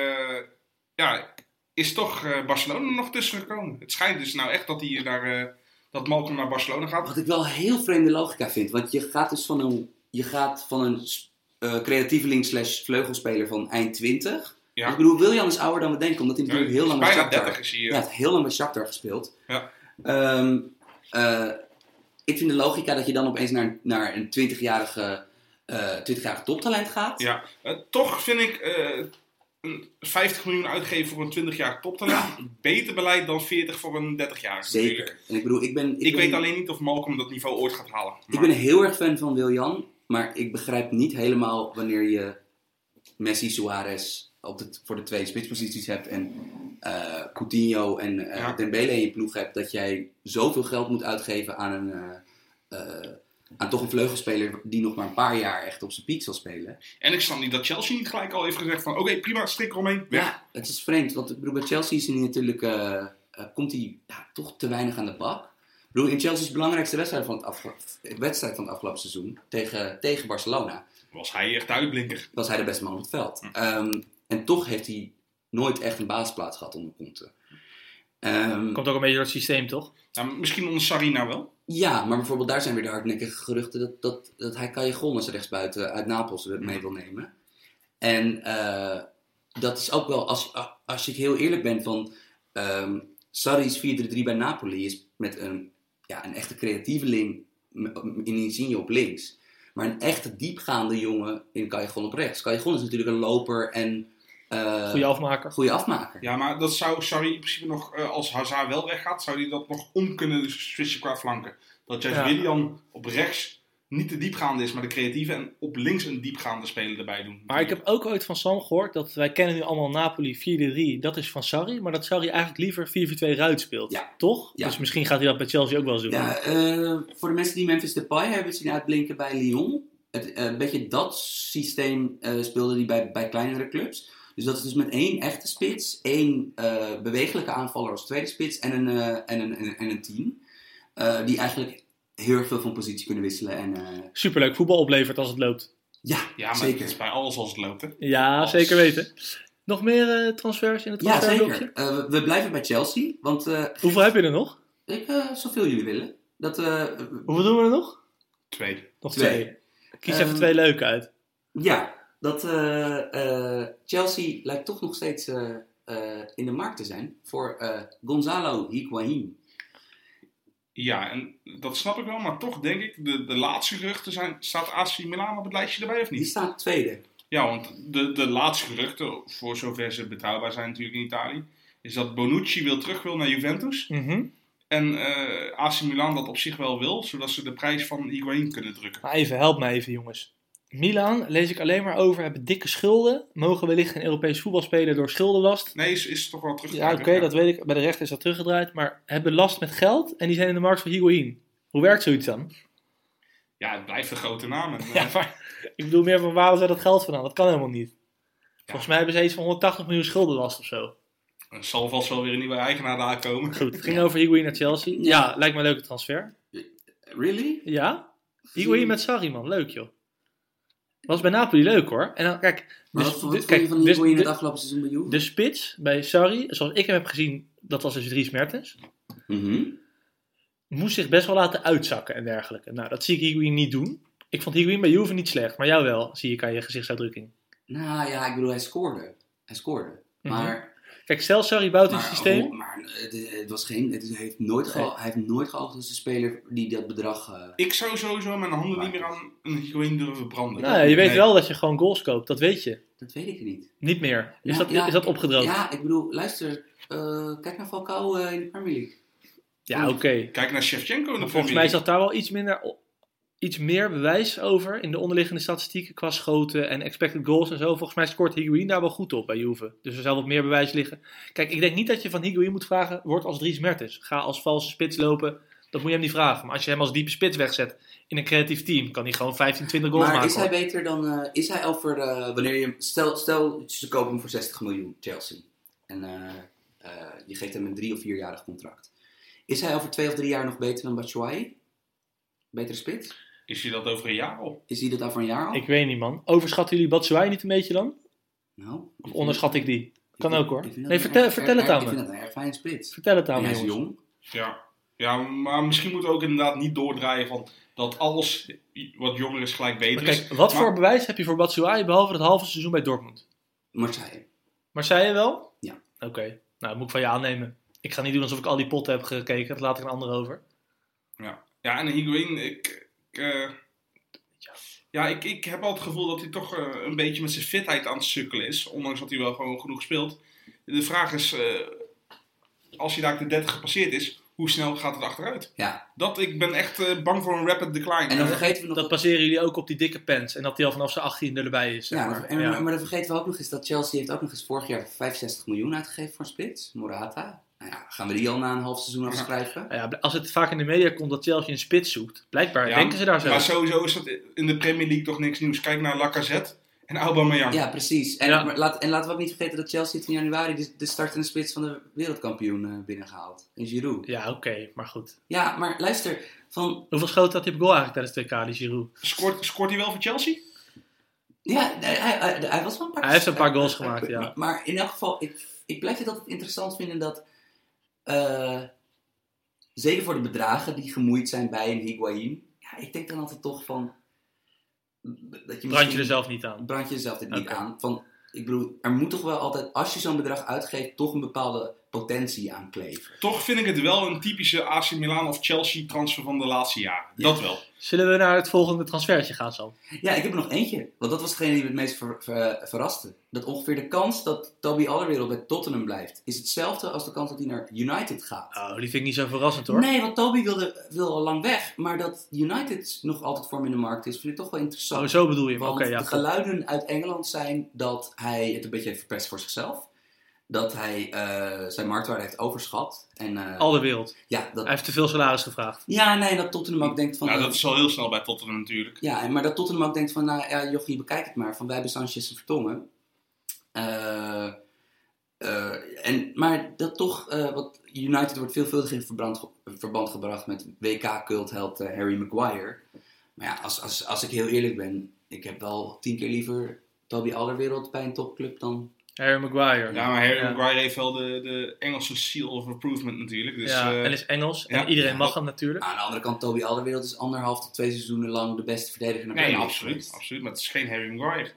ja, is toch eh, Barcelona nog tussen gekomen. Het schijnt dus nou echt dat, hij naar, eh, dat Malcolm naar Barcelona gaat.
Wat ik wel heel vreemde logica vind. Want je gaat dus van een, je gaat van een eh creatieveling slash vleugelspeler van eind 20.
Ja.
Ik bedoel, William is ouder dan we denken. Omdat hij
Ja,
natuurlijk heel lang bij
bijna
Shakhtar...
30 is hij.
Ja,
eh.
hij heeft heel lang bij Shakhtar gespeeld.
Ja.
Ehm, eh, ik vind de logica dat je dan opeens naar, naar een 20-jarige eh 20 toptalent gaat.
Ja, eh, toch vind ik eh, een 50 miljoen uitgeven voor een 20 jaar toptalent beter beleid dan 40 voor een 30 jaar.
Zeker. En ik bedoel, ik ben...
Ik,
ben-
weet alleen niet of Malcolm dat niveau ooit gaat halen.
Ik
Maar-
ben heel erg fan van Wiljan, maar ik begrijp niet helemaal wanneer je Messi, Suarez op de, voor de twee spitsposities hebt en eh, Coutinho en eh,
Ja.
Dembele in je ploeg hebt, dat jij zoveel geld moet uitgeven aan een... eh, eh, aan toch een vleugelspeler die nog maar een paar jaar echt op zijn piek zal spelen.
En ik snap niet dat Chelsea niet gelijk al heeft gezegd van oké, prima, strik eromheen, weg.
Ja, het is vreemd, want ik bedoel, bij Chelsea is hij natuurlijk, eh, eh, komt hij ja, toch te weinig aan de bak. Ik bedoel, in Chelsea's belangrijkste wedstrijd van het, afge- wedstrijd van het afgelopen seizoen, tegen, tegen Barcelona,
Was hij echt de uitblinker.
was hij de beste man op het veld. Ehm, en toch heeft hij nooit echt een basisplaats gehad onder Conte. Ehm,
Komt ook een beetje door het systeem toch?
Nou, misschien onder Sarina wel.
ja, maar bijvoorbeeld daar zijn weer de hardnekkige geruchten dat, dat, dat hij Callejon als rechtsbuiten uit Napels mee wil nemen. En eh, dat is ook wel, als, als ik heel eerlijk ben, van ehm Sarri's 4-3-3 bij Napoli is met een, ja, een echte creatieveling m- in Insigne op links. Maar een echte diepgaande jongen in Callejon op rechts. Callejon is natuurlijk een loper en... eh,
Goede afmaker.
goede afmaker.
Ja, maar dat zou Sarri in principe nog, eh, als Hazard wel weggaat, zou hij dat nog om kunnen switchen qua flanken. Dat juist
Ja.
Willian op rechts niet de diepgaande is, maar de creatieve en op links een diepgaande speler erbij doen.
Maar ik heb ook ooit van Sam gehoord dat wij kennen nu allemaal Napoli 4-3. Dat is van Sarri, maar dat Sarri eigenlijk liever 4-4-2 ruit speelt.
Ja.
Toch?
Ja.
Dus misschien gaat hij dat bij Chelsea ook wel eens doen.
Ja, eh, voor de mensen die Memphis Depay hebben zien uitblinken bij Lyon. Het, eh, een beetje dat systeem eh, speelde hij bij, bij kleinere clubs. Dus dat is dus met één echte spits, één eh, bewegelijke aanvaller als tweede spits en een, eh, en een, en een, en een team. Eh, die eigenlijk heel erg veel van positie kunnen wisselen. En, eh,
Superleuk voetbal oplevert als het loopt.
ja,
Ja, maar
zeker.
het is bij alles als het loopt, hè.
Ja,
Als-
zeker weten. Nog meer eh, transfers in het
ja,
transferblokje?
zeker. Eh, we, we blijven bij Chelsea, want eh,
Hoeveel heb je er nog?
ik, eh, zoveel jullie willen. Dat, eh,
Hoeveel doen we er nog?
Twee.
Nog twee.
Twee.
Kies
Ehm,
even twee leuke uit.
Ja, dat eh, eh, Chelsea lijkt toch nog steeds eh, eh, in de markt te zijn voor eh, Gonzalo Higuain.
Ja, en dat snap ik wel, maar toch denk ik, de, de laatste geruchten zijn, staat AC Milan op het lijstje erbij of
Die
niet?
staat tweede.
Ja, want de, de laatste geruchten, voor zover ze betrouwbaar zijn natuurlijk in Italië, is dat Bonucci wil terug wil naar Juventus.
Mhm.
En eh AC Milan dat op zich wel wil, zodat ze de prijs van Higuain kunnen drukken.
Maar Nou, even, help mij even jongens. Milaan, lees ik alleen maar over, hebben dikke schulden. Mogen wellicht geen Europees voetbal spelen door schuldenlast.
Nee, is, is toch wel terug. te
Ja, oké,
krijgen, ja.
dat weet ik. Bij de rechter is dat teruggedraaid. Maar hebben last met geld en die zijn in de markt voor Higuain. Hoe werkt zoiets dan?
Ja, het blijft een grote naam. En, eh,
Ja, maar ik bedoel meer van waar ze dat geld vandaan? Dat kan helemaal niet. Volgens mij hebben ze iets van 180 miljoen schuldenlast of zo.
eh, Er zal vast wel weer een nieuwe eigenaar aankomen.
Goed, het ging over Higuain naar Chelsea. Ja, lijkt me een leuke transfer.
Really?
Ja? Higuain met Sarri, man. Leuk, joh. Was bij Napoli leuk, hoor. En dan, kijk...
Maar
dus-
wat, wat
dit-
vond
kijk,
je van
dus-
Higuain in
dit-
het afgelopen seizoen bij Juve?
De dus- spits bij Sarri, zoals ik hem heb gezien, dat was dus Dries Mertens,
Mhm.
moest zich best wel laten uitzakken en dergelijke. Nou, dat zie ik Higuain niet doen. Ik vond Higuain bij Juve niet slecht, maar jou wel, zie ik aan je gezichtsuitdrukking.
Nou ja, ik bedoel, hij scoorde. Hij scoorde.
Mhm.
Maar...
Kijk, stel Sarri bouwt een
Maar,
systeem.
hoe- maar eh, het, het was geen, het is- hij heeft nooit ge,
Nee.
hij heeft nooit geoogd als de speler die dat bedrag. eh,
Ik zou sowieso mijn handen niet meer aan een Higuain durven branden.
Nou, je weet
Nee.
wel dat je gewoon goals koopt, dat weet je.
dat weet ik niet.
Niet meer. Is,
Ja,
dat,
ja.
is dat opgedroogd? Ja,
Ja, ik bedoel, luister, eh, kijk naar Falcao eh, in de Premier League.
oké.
Kijk naar Shevchenko in
Maar
de
volgens mij
Premier
zat daar wel iets, minder, o- iets meer bewijs over in de onderliggende statistieken qua schoten en expected goals en zo. Volgens mij scoort Higuain daar wel goed op bij Juve. Dus er zou wat meer bewijs liggen. Kijk, ik denk niet dat je van Higuain moet vragen, word als Dries Mertens. Ga als valse spits lopen, dat moet je hem niet vragen. Maar als je hem als diepe spits wegzet in een creatief team, kan hij gewoon 15, 20 goals
maar
maken.
is hij
hoor.
beter dan, eh, is hij al voor, eh, wanneer je, hem- stel, stel ze kopen hem voor 60 miljoen, Chelsea. En eh, eh, je geeft hem een drie- of vierjarig contract. Is hij over twee of drie jaar nog beter dan Batshuayi? Betere spits?
League. Is hij dat over een jaar al?
Is hij dat over een jaar al?
Ik weet niet man. Overschatten jullie Batshuayi niet een beetje dan?
nou,
Of onderschat ik die?
ik
Kan
vind-
ook hoor.
ik vind dat
Nee,
een
vertel,
erg-
vertel het
erg-
aan
Ik vind
me.
dat een erg fijne spits.
Vertel het aan
En
me
hij is
jongens.
jong.
Ja. ja, maar misschien moeten we ook inderdaad niet doordraaien van dat alles wat jonger is gelijk beter
Maar
is.
kijk, wat
Maar-
voor bewijs heb je voor Batshuayi behalve het halve seizoen bij Dortmund?
Marseille.
Maar zei je wel?
Ja.
Oké, nou moet ik van je aannemen. Ik ga niet doen alsof ik al die potten heb gekeken. Dat laat ik een ander over.
Ja, en Higuain, ik... ik eh, ja, ik, ik heb al het gevoel dat hij toch eh, een beetje met zijn fitheid aan het sukkelen is. Ondanks dat hij wel gewoon genoeg speelt. De vraag is, eh, als hij daar de 30 gepasseerd is, hoe snel gaat het achteruit?
Ja.
Dat, ik ben echt eh, bang voor een rapid decline.
En dan
Eh,
vergeten we nog...
Dat baseren jullie ook op die dikke pants. En dat die al vanaf zijn 18 erbij is. zeg
ja,
maar.
en,
Ja.
maar dan vergeten we ook nog eens dat Chelsea heeft ook nog eens vorig jaar 65 miljoen uitgegeven voor een spits. Morata. Nou ja, gaan we die al na een half seizoen afschrijven?
Nou ja, als het vaak in de media komt dat Chelsea een spits zoekt. Blijkbaar
Ja,
denken ze daar zo.
Maar sowieso is dat in de Premier League toch niks nieuws. Kijk naar Lacazette en Aubameyang.
Ja, precies. En,
Ja.
maar laat, en laten we ook niet vergeten dat Chelsea heeft in januari de, de startende spits van de wereldkampioen eh, binnengehaald. In Giroud.
Ja, oké, maar goed.
Ja, maar luister. Van,
Hoeveel schoten had hij op goal eigenlijk tijdens het WK, die Giroud?
Scoort, scoort hij wel voor Chelsea?
ja, hij, hij, hij- hij was wel een paar
Hij heeft een paar goals gemaakt, ja.
Maar in elk geval, ik, ik blijf het altijd interessant vinden dat. eh, zeker voor de bedragen die gemoeid zijn bij een Higuain. Ja, ik denk dan altijd toch van. Dat je
Brand je er
misschien-
zelf niet aan.
brand je jezelf dit niet
Oké.
aan. Van, ik bedoel, er moet toch wel altijd, als je zo'n bedrag uitgeeft, toch een bepaalde potentie aan kleven.
Toch vind ik het wel een typische AC Milan of Chelsea transfer van de laatste jaren.
Ja.
Dat wel.
Zullen we naar het volgende transfertje gaan, Sam?
Ja, ik heb er nog eentje. Want dat was degene die me het meest ver- ver- verraste. Dat ongeveer de kans dat Toby Alderweireld bij Tottenham blijft, is hetzelfde als de kans dat hij naar United gaat.
Oh, die vind ik niet zo verrassend, hoor.
Nee, want Toby wilde, wil al lang weg. Maar dat United nog altijd voor hem in de markt is, vind ik toch wel interessant.
Oh, zo bedoel je hem.
Want
Oké, ja.
de
goed.
geluiden uit Engeland zijn dat hij het een beetje heeft verpest voor zichzelf. Dat hij eh, zijn marktwaarde heeft overschat. En, eh,
Al de wereld.
ja, dat,
Hij heeft te veel salaris gevraagd.
ja, nee, dat Tottenham ook denkt van...
Nou,
eh,
dat is al heel snel bij Tottenham natuurlijk.
Ja, en- maar dat Tottenham ook denkt van, nou ja, jochie, bekijk het maar. Van, wij hebben Sanchez en Vertongen. Eh, eh, en, maar dat toch, eh, wat United wordt veelvuldig in verbrand ge- verband gebracht met WK-cultheld eh, Harry Maguire. Maar ja, als, als, als ik heel eerlijk ben, ik heb wel tien keer liever Toby Alderwereld bij een topclub dan...
Harry Maguire.
Ja, maar Harry
Ja.
Maguire heeft wel de, de Engelse seal of improvement natuurlijk. Dus,
Ja,
eh,
en is Engels.
ja.
en iedereen
Ja.
mag hem natuurlijk.
Aan de andere kant, Toby Alderwereld is anderhalf tot twee seizoenen lang de beste verdediger in de
nee,
Premier League
absoluut,
geweest.
absoluut. Maar het is geen Harry Maguire.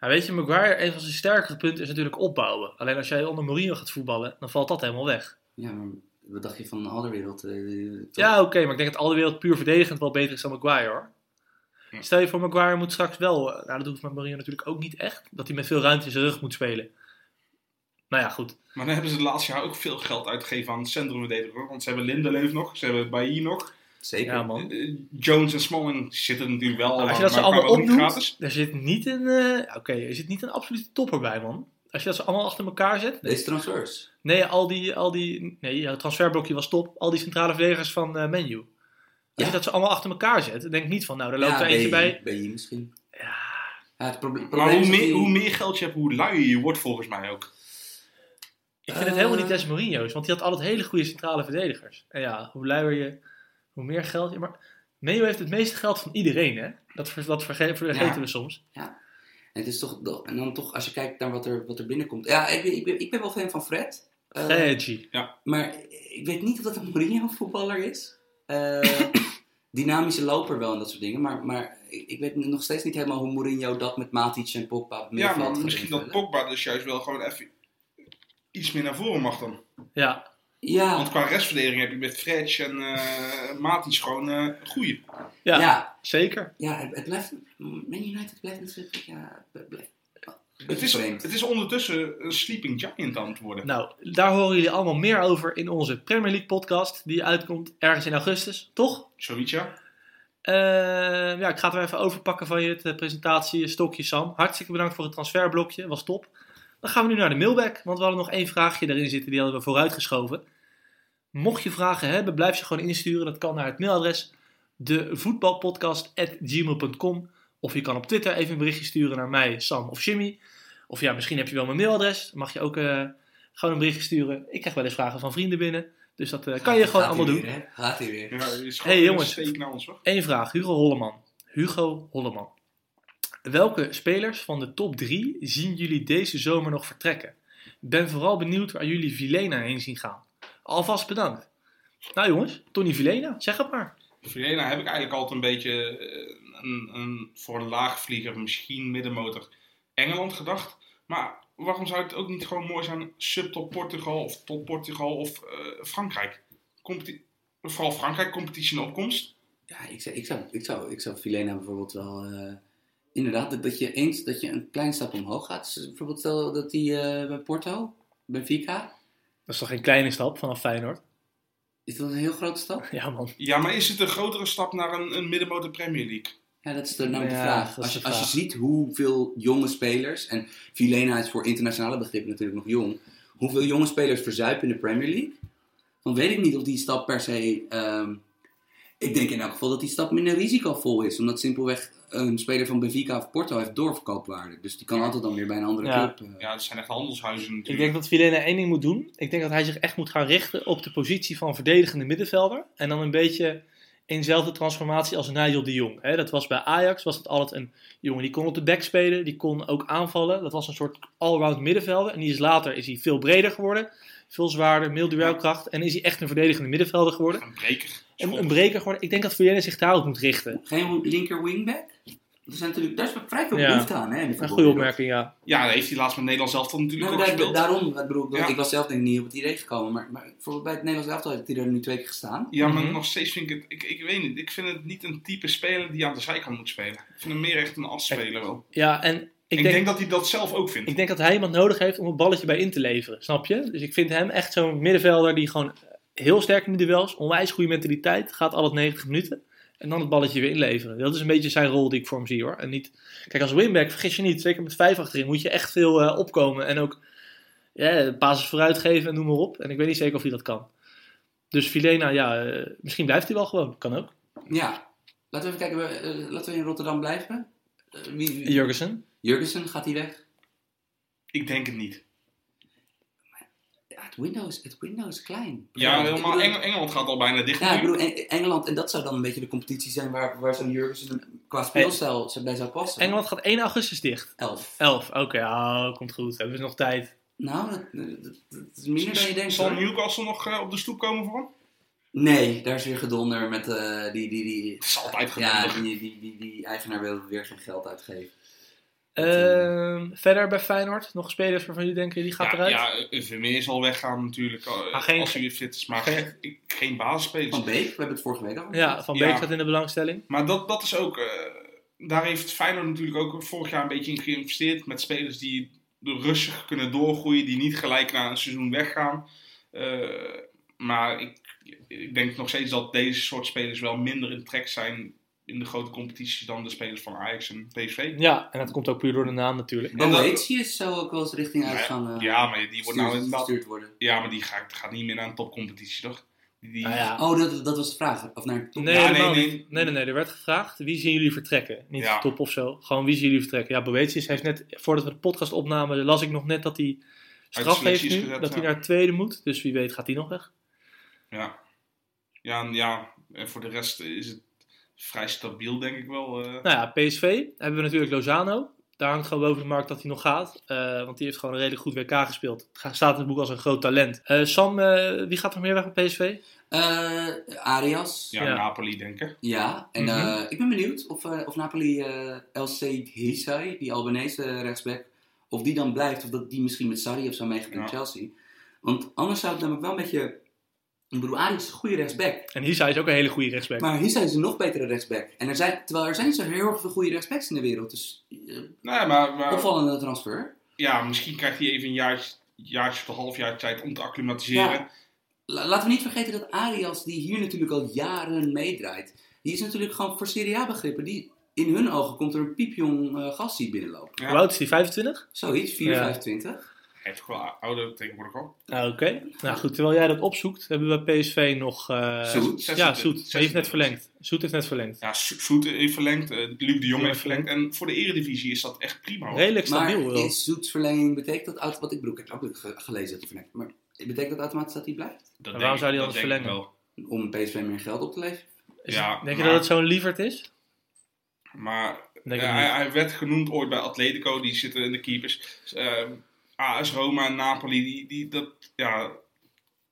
Ja, weet je, Maguire, een van zijn sterkere punten is natuurlijk opbouwen. Alleen als jij onder Mourinho gaat voetballen, dan valt dat helemaal weg.
Ja, maar wat dacht je van Alderwereld?
Ja, oké, maar ik denk dat al de wereld puur verdedigend wel beter is dan Maguire hoor.
Hm.
Stel je voor, Maguire moet straks wel, eh, nou dat hoeft met Mourinho natuurlijk ook niet echt, dat hij met veel ruimte in zijn rug moet spelen. Nou ja, goed.
Maar dan hebben ze het laatste jaar ook veel geld uitgegeven aan het centrumverdediger. hoor. Want ze hebben Lindeleef nog, ze hebben Bailly nog.
Zeker.
Ja, man.
Eh, Jones en Smalling zitten natuurlijk wel
Oh. Als
allemaal,
je dat ze
maar
allemaal
kwamen ook niet
opnoemt, daar zit niet een, eh, oké, er zit niet een absolute topper bij, man. Als je dat ze allemaal achter elkaar zet.
Deze transfers.
Nee, al die, al die nee, jouw transferblokje was top. Al die centrale verdedigers van eh Menu. Als
Ja.
je dat ze allemaal achter elkaar zet, denk ik niet van, nou, daar loopt er eentje bij.
Ben je misschien?
Ja,
Ja, het proble- probleem
Maar hoe
is dat
meer,
hij-
hoe meer geld je hebt, hoe luier je wordt volgens mij ook.
Ik vind het
Eh.
helemaal niet Des Mourinho's, want die had altijd hele goede centrale verdedigers. En ja, hoe luier je, hoe meer geld je... Maar Meo heeft het meeste geld van iedereen, hè? Dat, ver- dat verge- vergeten
Ja.
we soms.
Het is toch, do- en dan toch, als je kijkt naar wat er, wat er binnenkomt. Ja, ik, ben- ik, ben, ik ben wel fan van Fred. Eh,
Reggie.
maar ik weet niet of dat een Mourinho-voetballer is. Eh, dynamische loper wel en dat soort dingen. Maar, maar ik, ik weet nog steeds niet helemaal hoe Mourinho dat met Matic en Pogba op het
Ja,
middenveld
maar
gaat
misschien dat
invullen.
Pogba dus juist wel gewoon even iets meer naar voren mag dan.
Ja,
Want
Ja,
qua restverdediging heb je met Fred en eh Matis gewoon eh goeie.
ja,
ja,
zeker.
ja, het, het blijft... Man United blijft natuurlijk... Ja, het blijft...
Het is,
vreemd.
het is ondertussen een sleeping giant aan het worden.
Nou, daar horen jullie allemaal meer over in onze Premier League podcast, die uitkomt ergens in augustus, toch?
Zoiets ja.
Eh, ja, ik ga het er even overpakken van je de presentatie, eh, stokje Sam. Hartstikke bedankt voor het transferblokje, was top. Dan gaan we nu naar de mailback, want we hadden nog één vraagje erin zitten, die hadden we vooruitgeschoven. Mocht je vragen hebben, blijf ze gewoon insturen. Dat kan naar het mailadres devoetbalpodcast.gmail.com Of je kan op Twitter even een berichtje sturen naar mij, Sam of Jimmy. Of ja, misschien heb je wel mijn mailadres. Mag je ook eh, gewoon een berichtje sturen. Ik krijg wel eens vragen van vrienden binnen. Dus dat eh, kan je gewoon allemaal doen.
Gaat hij weer.
Ja, het is
Hey,
gewoon een
jongens.
steek naar ons hoor.
Eén vraag, Hugo Holleman. Hugo Holleman. Welke spelers van de top 3 zien jullie deze zomer nog vertrekken? Ik ben vooral benieuwd waar jullie Vilena heen zien gaan. Alvast bedankt. Nou jongens, Tony Vilena, zeg het maar.
Verena heb ik eigenlijk altijd een beetje eh, een, een, voor een laagvlieger, misschien middenmotor, Engeland gedacht. Maar waarom zou het ook niet gewoon mooi zijn subtop Portugal of top Portugal of eh, Frankrijk? Competi- Vooral Frankrijk, competitie in opkomst.
Ja, ik zou, ik zou, ik zou, ik zou Filena bijvoorbeeld wel. eh, inderdaad, dat, dat je eens dat je een klein stap omhoog gaat. Dus bijvoorbeeld stel dat die eh, bij Porto, Benfica,
Dat is toch geen kleine stap vanaf Feyenoord?
is dat een heel grote stap?
Ja man.
Ja, maar is het een grotere stap naar een, een middenmotor Premier League?
Ja, dat is de, nou de
Ja,
vraag.
dat is
Als
de
je, als je
vraag.
ziet hoeveel jonge spelers, en Filena is voor internationale begrippen natuurlijk nog jong, hoeveel jonge spelers verzuipen in de Premier League, dan weet ik niet of die stap per se. ehm, ik denk in elk geval dat die stap minder risicovol is, omdat simpelweg een speler van Benfica of Porto heeft doorverkoopwaarde. Dus die kan altijd dan weer bij een andere
Ja.
club. eh,
Ja, dat zijn echt handelshuizen
Ik
natuurlijk.
denk dat Vilena één ding moet doen. Ik denk dat hij zich echt moet gaan richten op de positie van verdedigende middenvelder. En dan een beetje in dezelfde transformatie als Nigel de Jong. Hè, dat was bij Ajax, was dat altijd een jongen die kon op de back spelen. Die kon ook aanvallen. Dat was een soort allround middenvelder. En die is later is hij veel breder geworden. Veel zwaarder, meer duelkracht. En is hij echt een verdedigende middenvelder geworden.
Een breker.
En een breker geworden. Ik denk dat Vilena zich daarop moet richten.
Geen linker wingback? Er zijn natuurlijk, daar is vrij veel
Ja.
behoefte aan, hè? in de
Een goede
voetbalwereld.
opmerking, ja.
Ja, dat heeft hij laatst met Nederland zelf dan natuurlijk
Nou,
ook
daar-
gespeeld.
daarom, ik bedoel,
Ja.
ik was zelf denk ik niet op het idee gekomen, maar, maar bijvoorbeeld bij het Nederlands elftal heeft hij er nu twee keer gestaan.
Ja, maar
Mhm.
nog steeds vind ik het... Ik, ik weet niet. Ik vind het niet een type speler die aan de zijkant moet spelen. Ik vind hem meer echt een afspeler wel.
Ja, en ik,
Ik,
denk
denk, dat hij dat zelf ook vindt.
Ik denk dat hij iemand nodig heeft om het balletje bij in te leveren, snap je? Dus ik vind hem echt zo'n middenvelder die gewoon heel sterk in de duels, onwijs goede mentaliteit, gaat al het 90 minuten en dan het balletje weer inleveren. Dat is een beetje zijn rol die ik voor hem zie hoor. En niet, kijk, als winback, vergis je niet, zeker met vijf achterin, moet je echt veel eh, opkomen en ook ja, basis vooruit geven en noem maar op. En ik weet niet zeker of hij dat kan. Dus Filena, ja, eh, misschien blijft hij wel gewoon, kan ook.
Ja, laten we even kijken, we, eh, laten we in Rotterdam blijven. Eh, wie, wie-
Jurgensen?
Jurgensen, gaat hij weg?
Ik denk het niet.
Ja, het window is, het window is klein.
Ja,
Ik
helemaal.
bedoel-
Eng- Engeland gaat al bijna dicht.
Ja, ik
nu.
bedoel, Eng- Engeland, en dat zou dan een beetje de competitie zijn waar, waar zo'n Jurgensen qua speelstijl ze bij zou passen.
Engeland gaat 1 augustus dicht.
Elf.
11, oké, ah, komt goed, hebben we nog tijd.
Nou, dat, dat- dat is minder dan je denkt.
Zal
hoor.
Newcastle nog eh, op de stoep komen voor hem?
Nee, daar is weer gedonder met eh, die, die, die,
Het is altijd
ja,
gedaan.
die, die, die, die eigenaar wil weer geen geld uitgeven.
Ehm, verder bij Feyenoord, nog spelers waarvan jullie denken die gaat
ja,
eruit?
ja, eh, Vermeer zal weggaan natuurlijk. eh,
Maar geen-
als hij weer fit is. Maar
geen-
geen, ik- geen basisspeler.
Van Beek, we hebben het vorige week al.
Ja, Van
Ja.
Beek staat in de belangstelling.
Maar dat, dat is ook. eh, daar heeft Feyenoord natuurlijk ook vorig jaar een beetje in geïnvesteerd. Met spelers die rustig kunnen doorgroeien. Die niet gelijk na een seizoen weggaan. Eh, maar ik, ik denk nog steeds dat deze soort spelers wel minder in trek zijn. In de grote competities dan de spelers van Ajax en PSV.
Ja, en dat komt ook puur door de naam natuurlijk.
En dat-
Boetius zou ook wel eens richting
Ja,
uitgaan.
Ja, maar die wordt nou inderdaad
gestuurd worden.
Ja, maar die gaat, gaat niet meer naar een topcompetitie, toch? Die,
Nou ja,
Oh, dat, dat was de vraag. Of naar
Nee,
Ja, nee,
helemaal
nee.
niet. Nee, nee, nee. Er werd gevraagd, wie zien jullie vertrekken? Niet
Ja.
top of zo. Gewoon, wie zien jullie vertrekken? Ja, Boetius heeft net, voordat we de podcast opnamen, las ik nog net dat hij straf heeft
selectie is
nu.
gezet,
dat hij
ja.
naar het tweede moet. Dus wie weet gaat hij nog weg.
Ja. Ja, en ja, en voor de rest is het vrij stabiel, denk ik wel. eh.
Nou ja, PSV hebben we natuurlijk Lozano. Daar hangt gewoon boven de markt dat hij nog gaat. Eh, want die heeft gewoon een redelijk goed WK gespeeld. Ga- Staat in het boek als een groot talent. Eh, Sam, eh, wie gaat er meer weg bij PSV?
Eh, Arias. Ja.
ja,
ja.
Napoli, denk ik.
En
Mhm.
eh, ik ben benieuwd of, eh, of Napoli eh LC Hisai, die Albanese rechtsback, of die dan blijft. Of dat die misschien met Sarri of zo meegaat naar
Ja.
Chelsea. Want anders zou het namelijk wel een beetje... Ik bedoel, Arias is een goede rechtsback.
En Hisa is ook een hele goede rechtsback.
Nou,
Maar Hisai is een nog betere rechtsback. En er zijn, terwijl er zijn zo heel erg veel goede rechtsbacks in de wereld. Dus eh,
Nee, maar, maar
opvallende transfer.
ja, misschien krijgt hij even een jaartje, jaartje of een half jaar tijd om te acclimatiseren.
Ja. La- laten we niet vergeten dat Arias, die hier natuurlijk al jaren meedraait, die is natuurlijk gewoon voor Serie A begrippen. Die, in hun ogen komt er een piepjong eh gast die binnenloopt.
Ja.
Hoe oud is hij? 25?
Zoiets, 4,
Ja.
25.
Hij heeft ook wel ouder tegenwoordig al.
Nou, oké. Nou goed, terwijl jij dat opzoekt, hebben we bij PSV nog... eh,
Zoet.
Ja,
26.
Zoet. Hij heeft net verlengd. Zoet heeft net verlengd.
Ja, Zo- Zoet heeft verlengd. eh, Luc de Jong
Ja,
heeft verlengd. En voor de eredivisie is dat echt prima. hoor.
Redelijk stabiel
Maar
wel.
is zoetsverlenging betekent dat automatisch... Wat ik bedoel, ik heb ook ge- gelezen dat hij verlengt. Maar betekent dat automatisch dat hij blijft?
Dat
waarom
denk ik-
zou hij
dat
anders
denk ik
verlengen?
wel.
Om PSV meer geld op te leveren?
Is-
ja,
denk je
maar-
dat het zo'n lieverd is?
Maar
Denk
Ja,
ik
hij,
niet.
hij werd genoemd ooit bij Atletico, die zitten in de keepers. Eh, AS Roma en Napoli, die, die, dat, ja,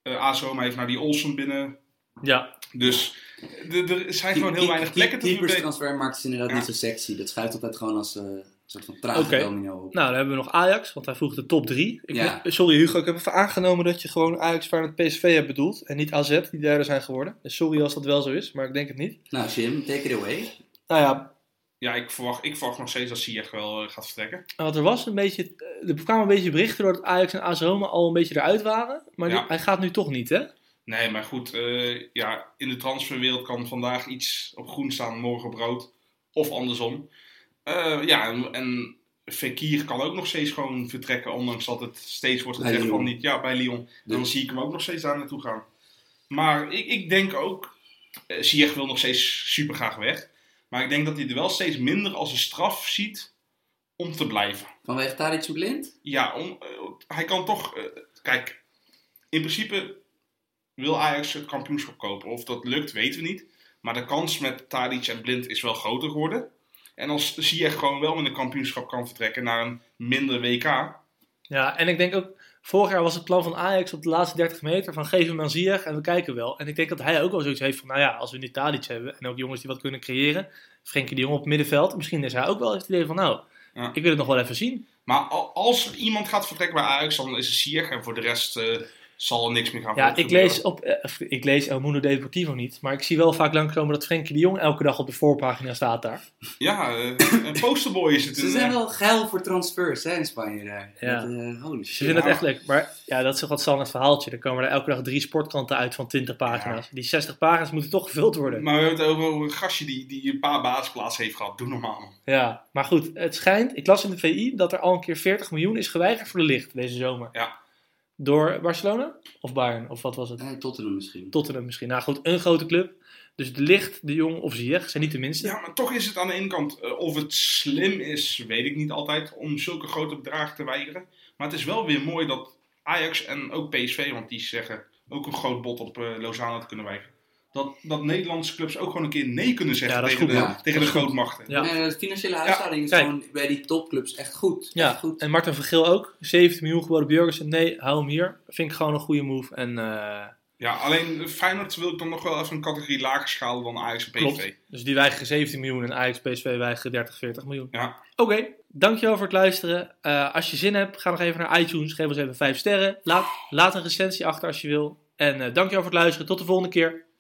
eh, AS Roma heeft naar die Olsen binnen.
Ja,
Dus eh, d- er zijn gewoon heel
Die-
weinig
die-
plekken te
Die
verdedigen.
keeperstransfermarkt is inderdaad
Ja.
niet zo sexy. Dat schuift altijd gewoon als eh, een soort van trage
Oké.
domino op.
nou dan hebben we nog Ajax, want hij vroeg de top 3.
Ja.
Sorry Hugo, ik heb even aangenomen dat je gewoon Ajax, Feyenoord, PSV hebt bedoeld. En niet AZ, die derde zijn geworden. Dus sorry als dat wel zo is, maar ik denk het niet.
Nou, Jim, take it away.
Nou ja,
Ja, ik verwacht, ik verwacht nog steeds dat Ziyech wel eh, gaat vertrekken.
en wat er was een beetje, eh, er kwamen een beetje berichten doordat Ajax en AS Roma al een beetje eruit waren. Maar die-
Ja.
hij gaat nu toch niet, hè?
Nee, maar goed, eh, ja, in de transferwereld kan vandaag iets op groen staan, morgen op rood. Of andersom. Eh, ja, en, en Fekir kan ook nog steeds gewoon vertrekken, ondanks dat het steeds wordt
Bij
gezegd van
Lyon.
niet. Ja, bij Lyon. Dan
Dus-
zie ik hem ook nog steeds daar naartoe gaan. Maar ik, ik denk ook, eh, Ziyech wil nog steeds super graag weg. Maar ik denk dat hij er wel steeds minder als een straf ziet om te blijven.
Vanwege Tariq en Blind?
Ja, om, eh, hij kan toch. eh, kijk, in principe wil Ajax het kampioenschap kopen. Of dat lukt, weten we niet. Maar de kans met Tadic en Blind is wel groter geworden. En als Ziyech gewoon wel met een kampioenschap kan vertrekken naar een minder WK.
Ja, en ik denk ook, vorig jaar was het plan van Ajax op de laatste 30 meter van geef hem aan Ziyech en we kijken wel. En ik denk dat hij ook wel zoiets heeft van, nou ja, als we nu Tadic hebben en ook jongens die wat kunnen creëren. Frenkie de Jong op het middenveld, misschien is hij ook wel het idee van, nou,
Ja.
ik wil het nog wel even zien.
Maar al- als er iemand gaat vertrekken bij Ajax, dan is het Ziyech. En voor de rest eh, zal er niks meer gaan
Ja, ik
gebeuren.
lees, op, eh, of ik lees El Mundo Deportivo niet, maar ik zie wel vaak langskomen dat Frenkie de Jong elke dag op de voorpagina staat daar.
Ja, eh, een posterboy is het.
Dus Ze
een,
zijn
eh,
wel geil voor transfers hè, in Spanje daar.
Ja.
Dat, eh, holy
Ze
shit.
vinden het
Ja.
echt leuk. Maar ja, dat is toch wat San het verhaaltje. Er komen er elke dag drie sportkranten uit van 20 pagina's. Die 60 pagina's moeten toch gevuld worden.
Maar we hebben het over een gastje die, die een paar basisplaatsen heeft gehad. Doe normaal. man.
Ja, maar goed, het schijnt, ik las in de VI dat er al een keer 40 miljoen is geweigerd voor de licht deze zomer.
Ja.
Door Barcelona of Bayern of wat was het?
Eh, Tottenham misschien.
Tottenham misschien. Nou goed, een grote club. Dus de licht, de jong of Ziyech zijn niet de minste.
Ja, maar toch is het aan de ene kant, eh, of het slim is, weet ik niet altijd, om zulke grote bedragen te weigeren. Maar het is wel weer mooi dat Ajax en ook PSV, want die zeggen ook een groot bod op eh, Lozano te kunnen weigeren. Dat, dat Nederlandse clubs ook gewoon een keer nee kunnen zeggen
Ja, dat is
tegen, de,
goed,
ja.
tegen de grootmachten.
Ja.
Nee, de eh, financiële huishouding is
kijk.
gewoon bij die topclubs echt goed.
Ja,
Echt goed.
en Martin Vergeel ook. 17 miljoen geboden op Jurgensen. Nee, hou hem hier. Vind ik gewoon een goede move. En eh,
Ja, alleen Feyenoord wil ik dan nog wel even een categorie lager schalen dan Ajax en PSV.
klopt. Dus die weigeren 17 miljoen en Ajax PSV weigeren 30, 40 miljoen.
Ja.
Oké, dankjewel voor het luisteren. Eh, als je zin hebt, ga nog even naar iTunes. Geef ons even 5 sterren. Laat, laat een recensie achter als je wil. En eh, dankjewel voor het luisteren. Tot de volgende keer.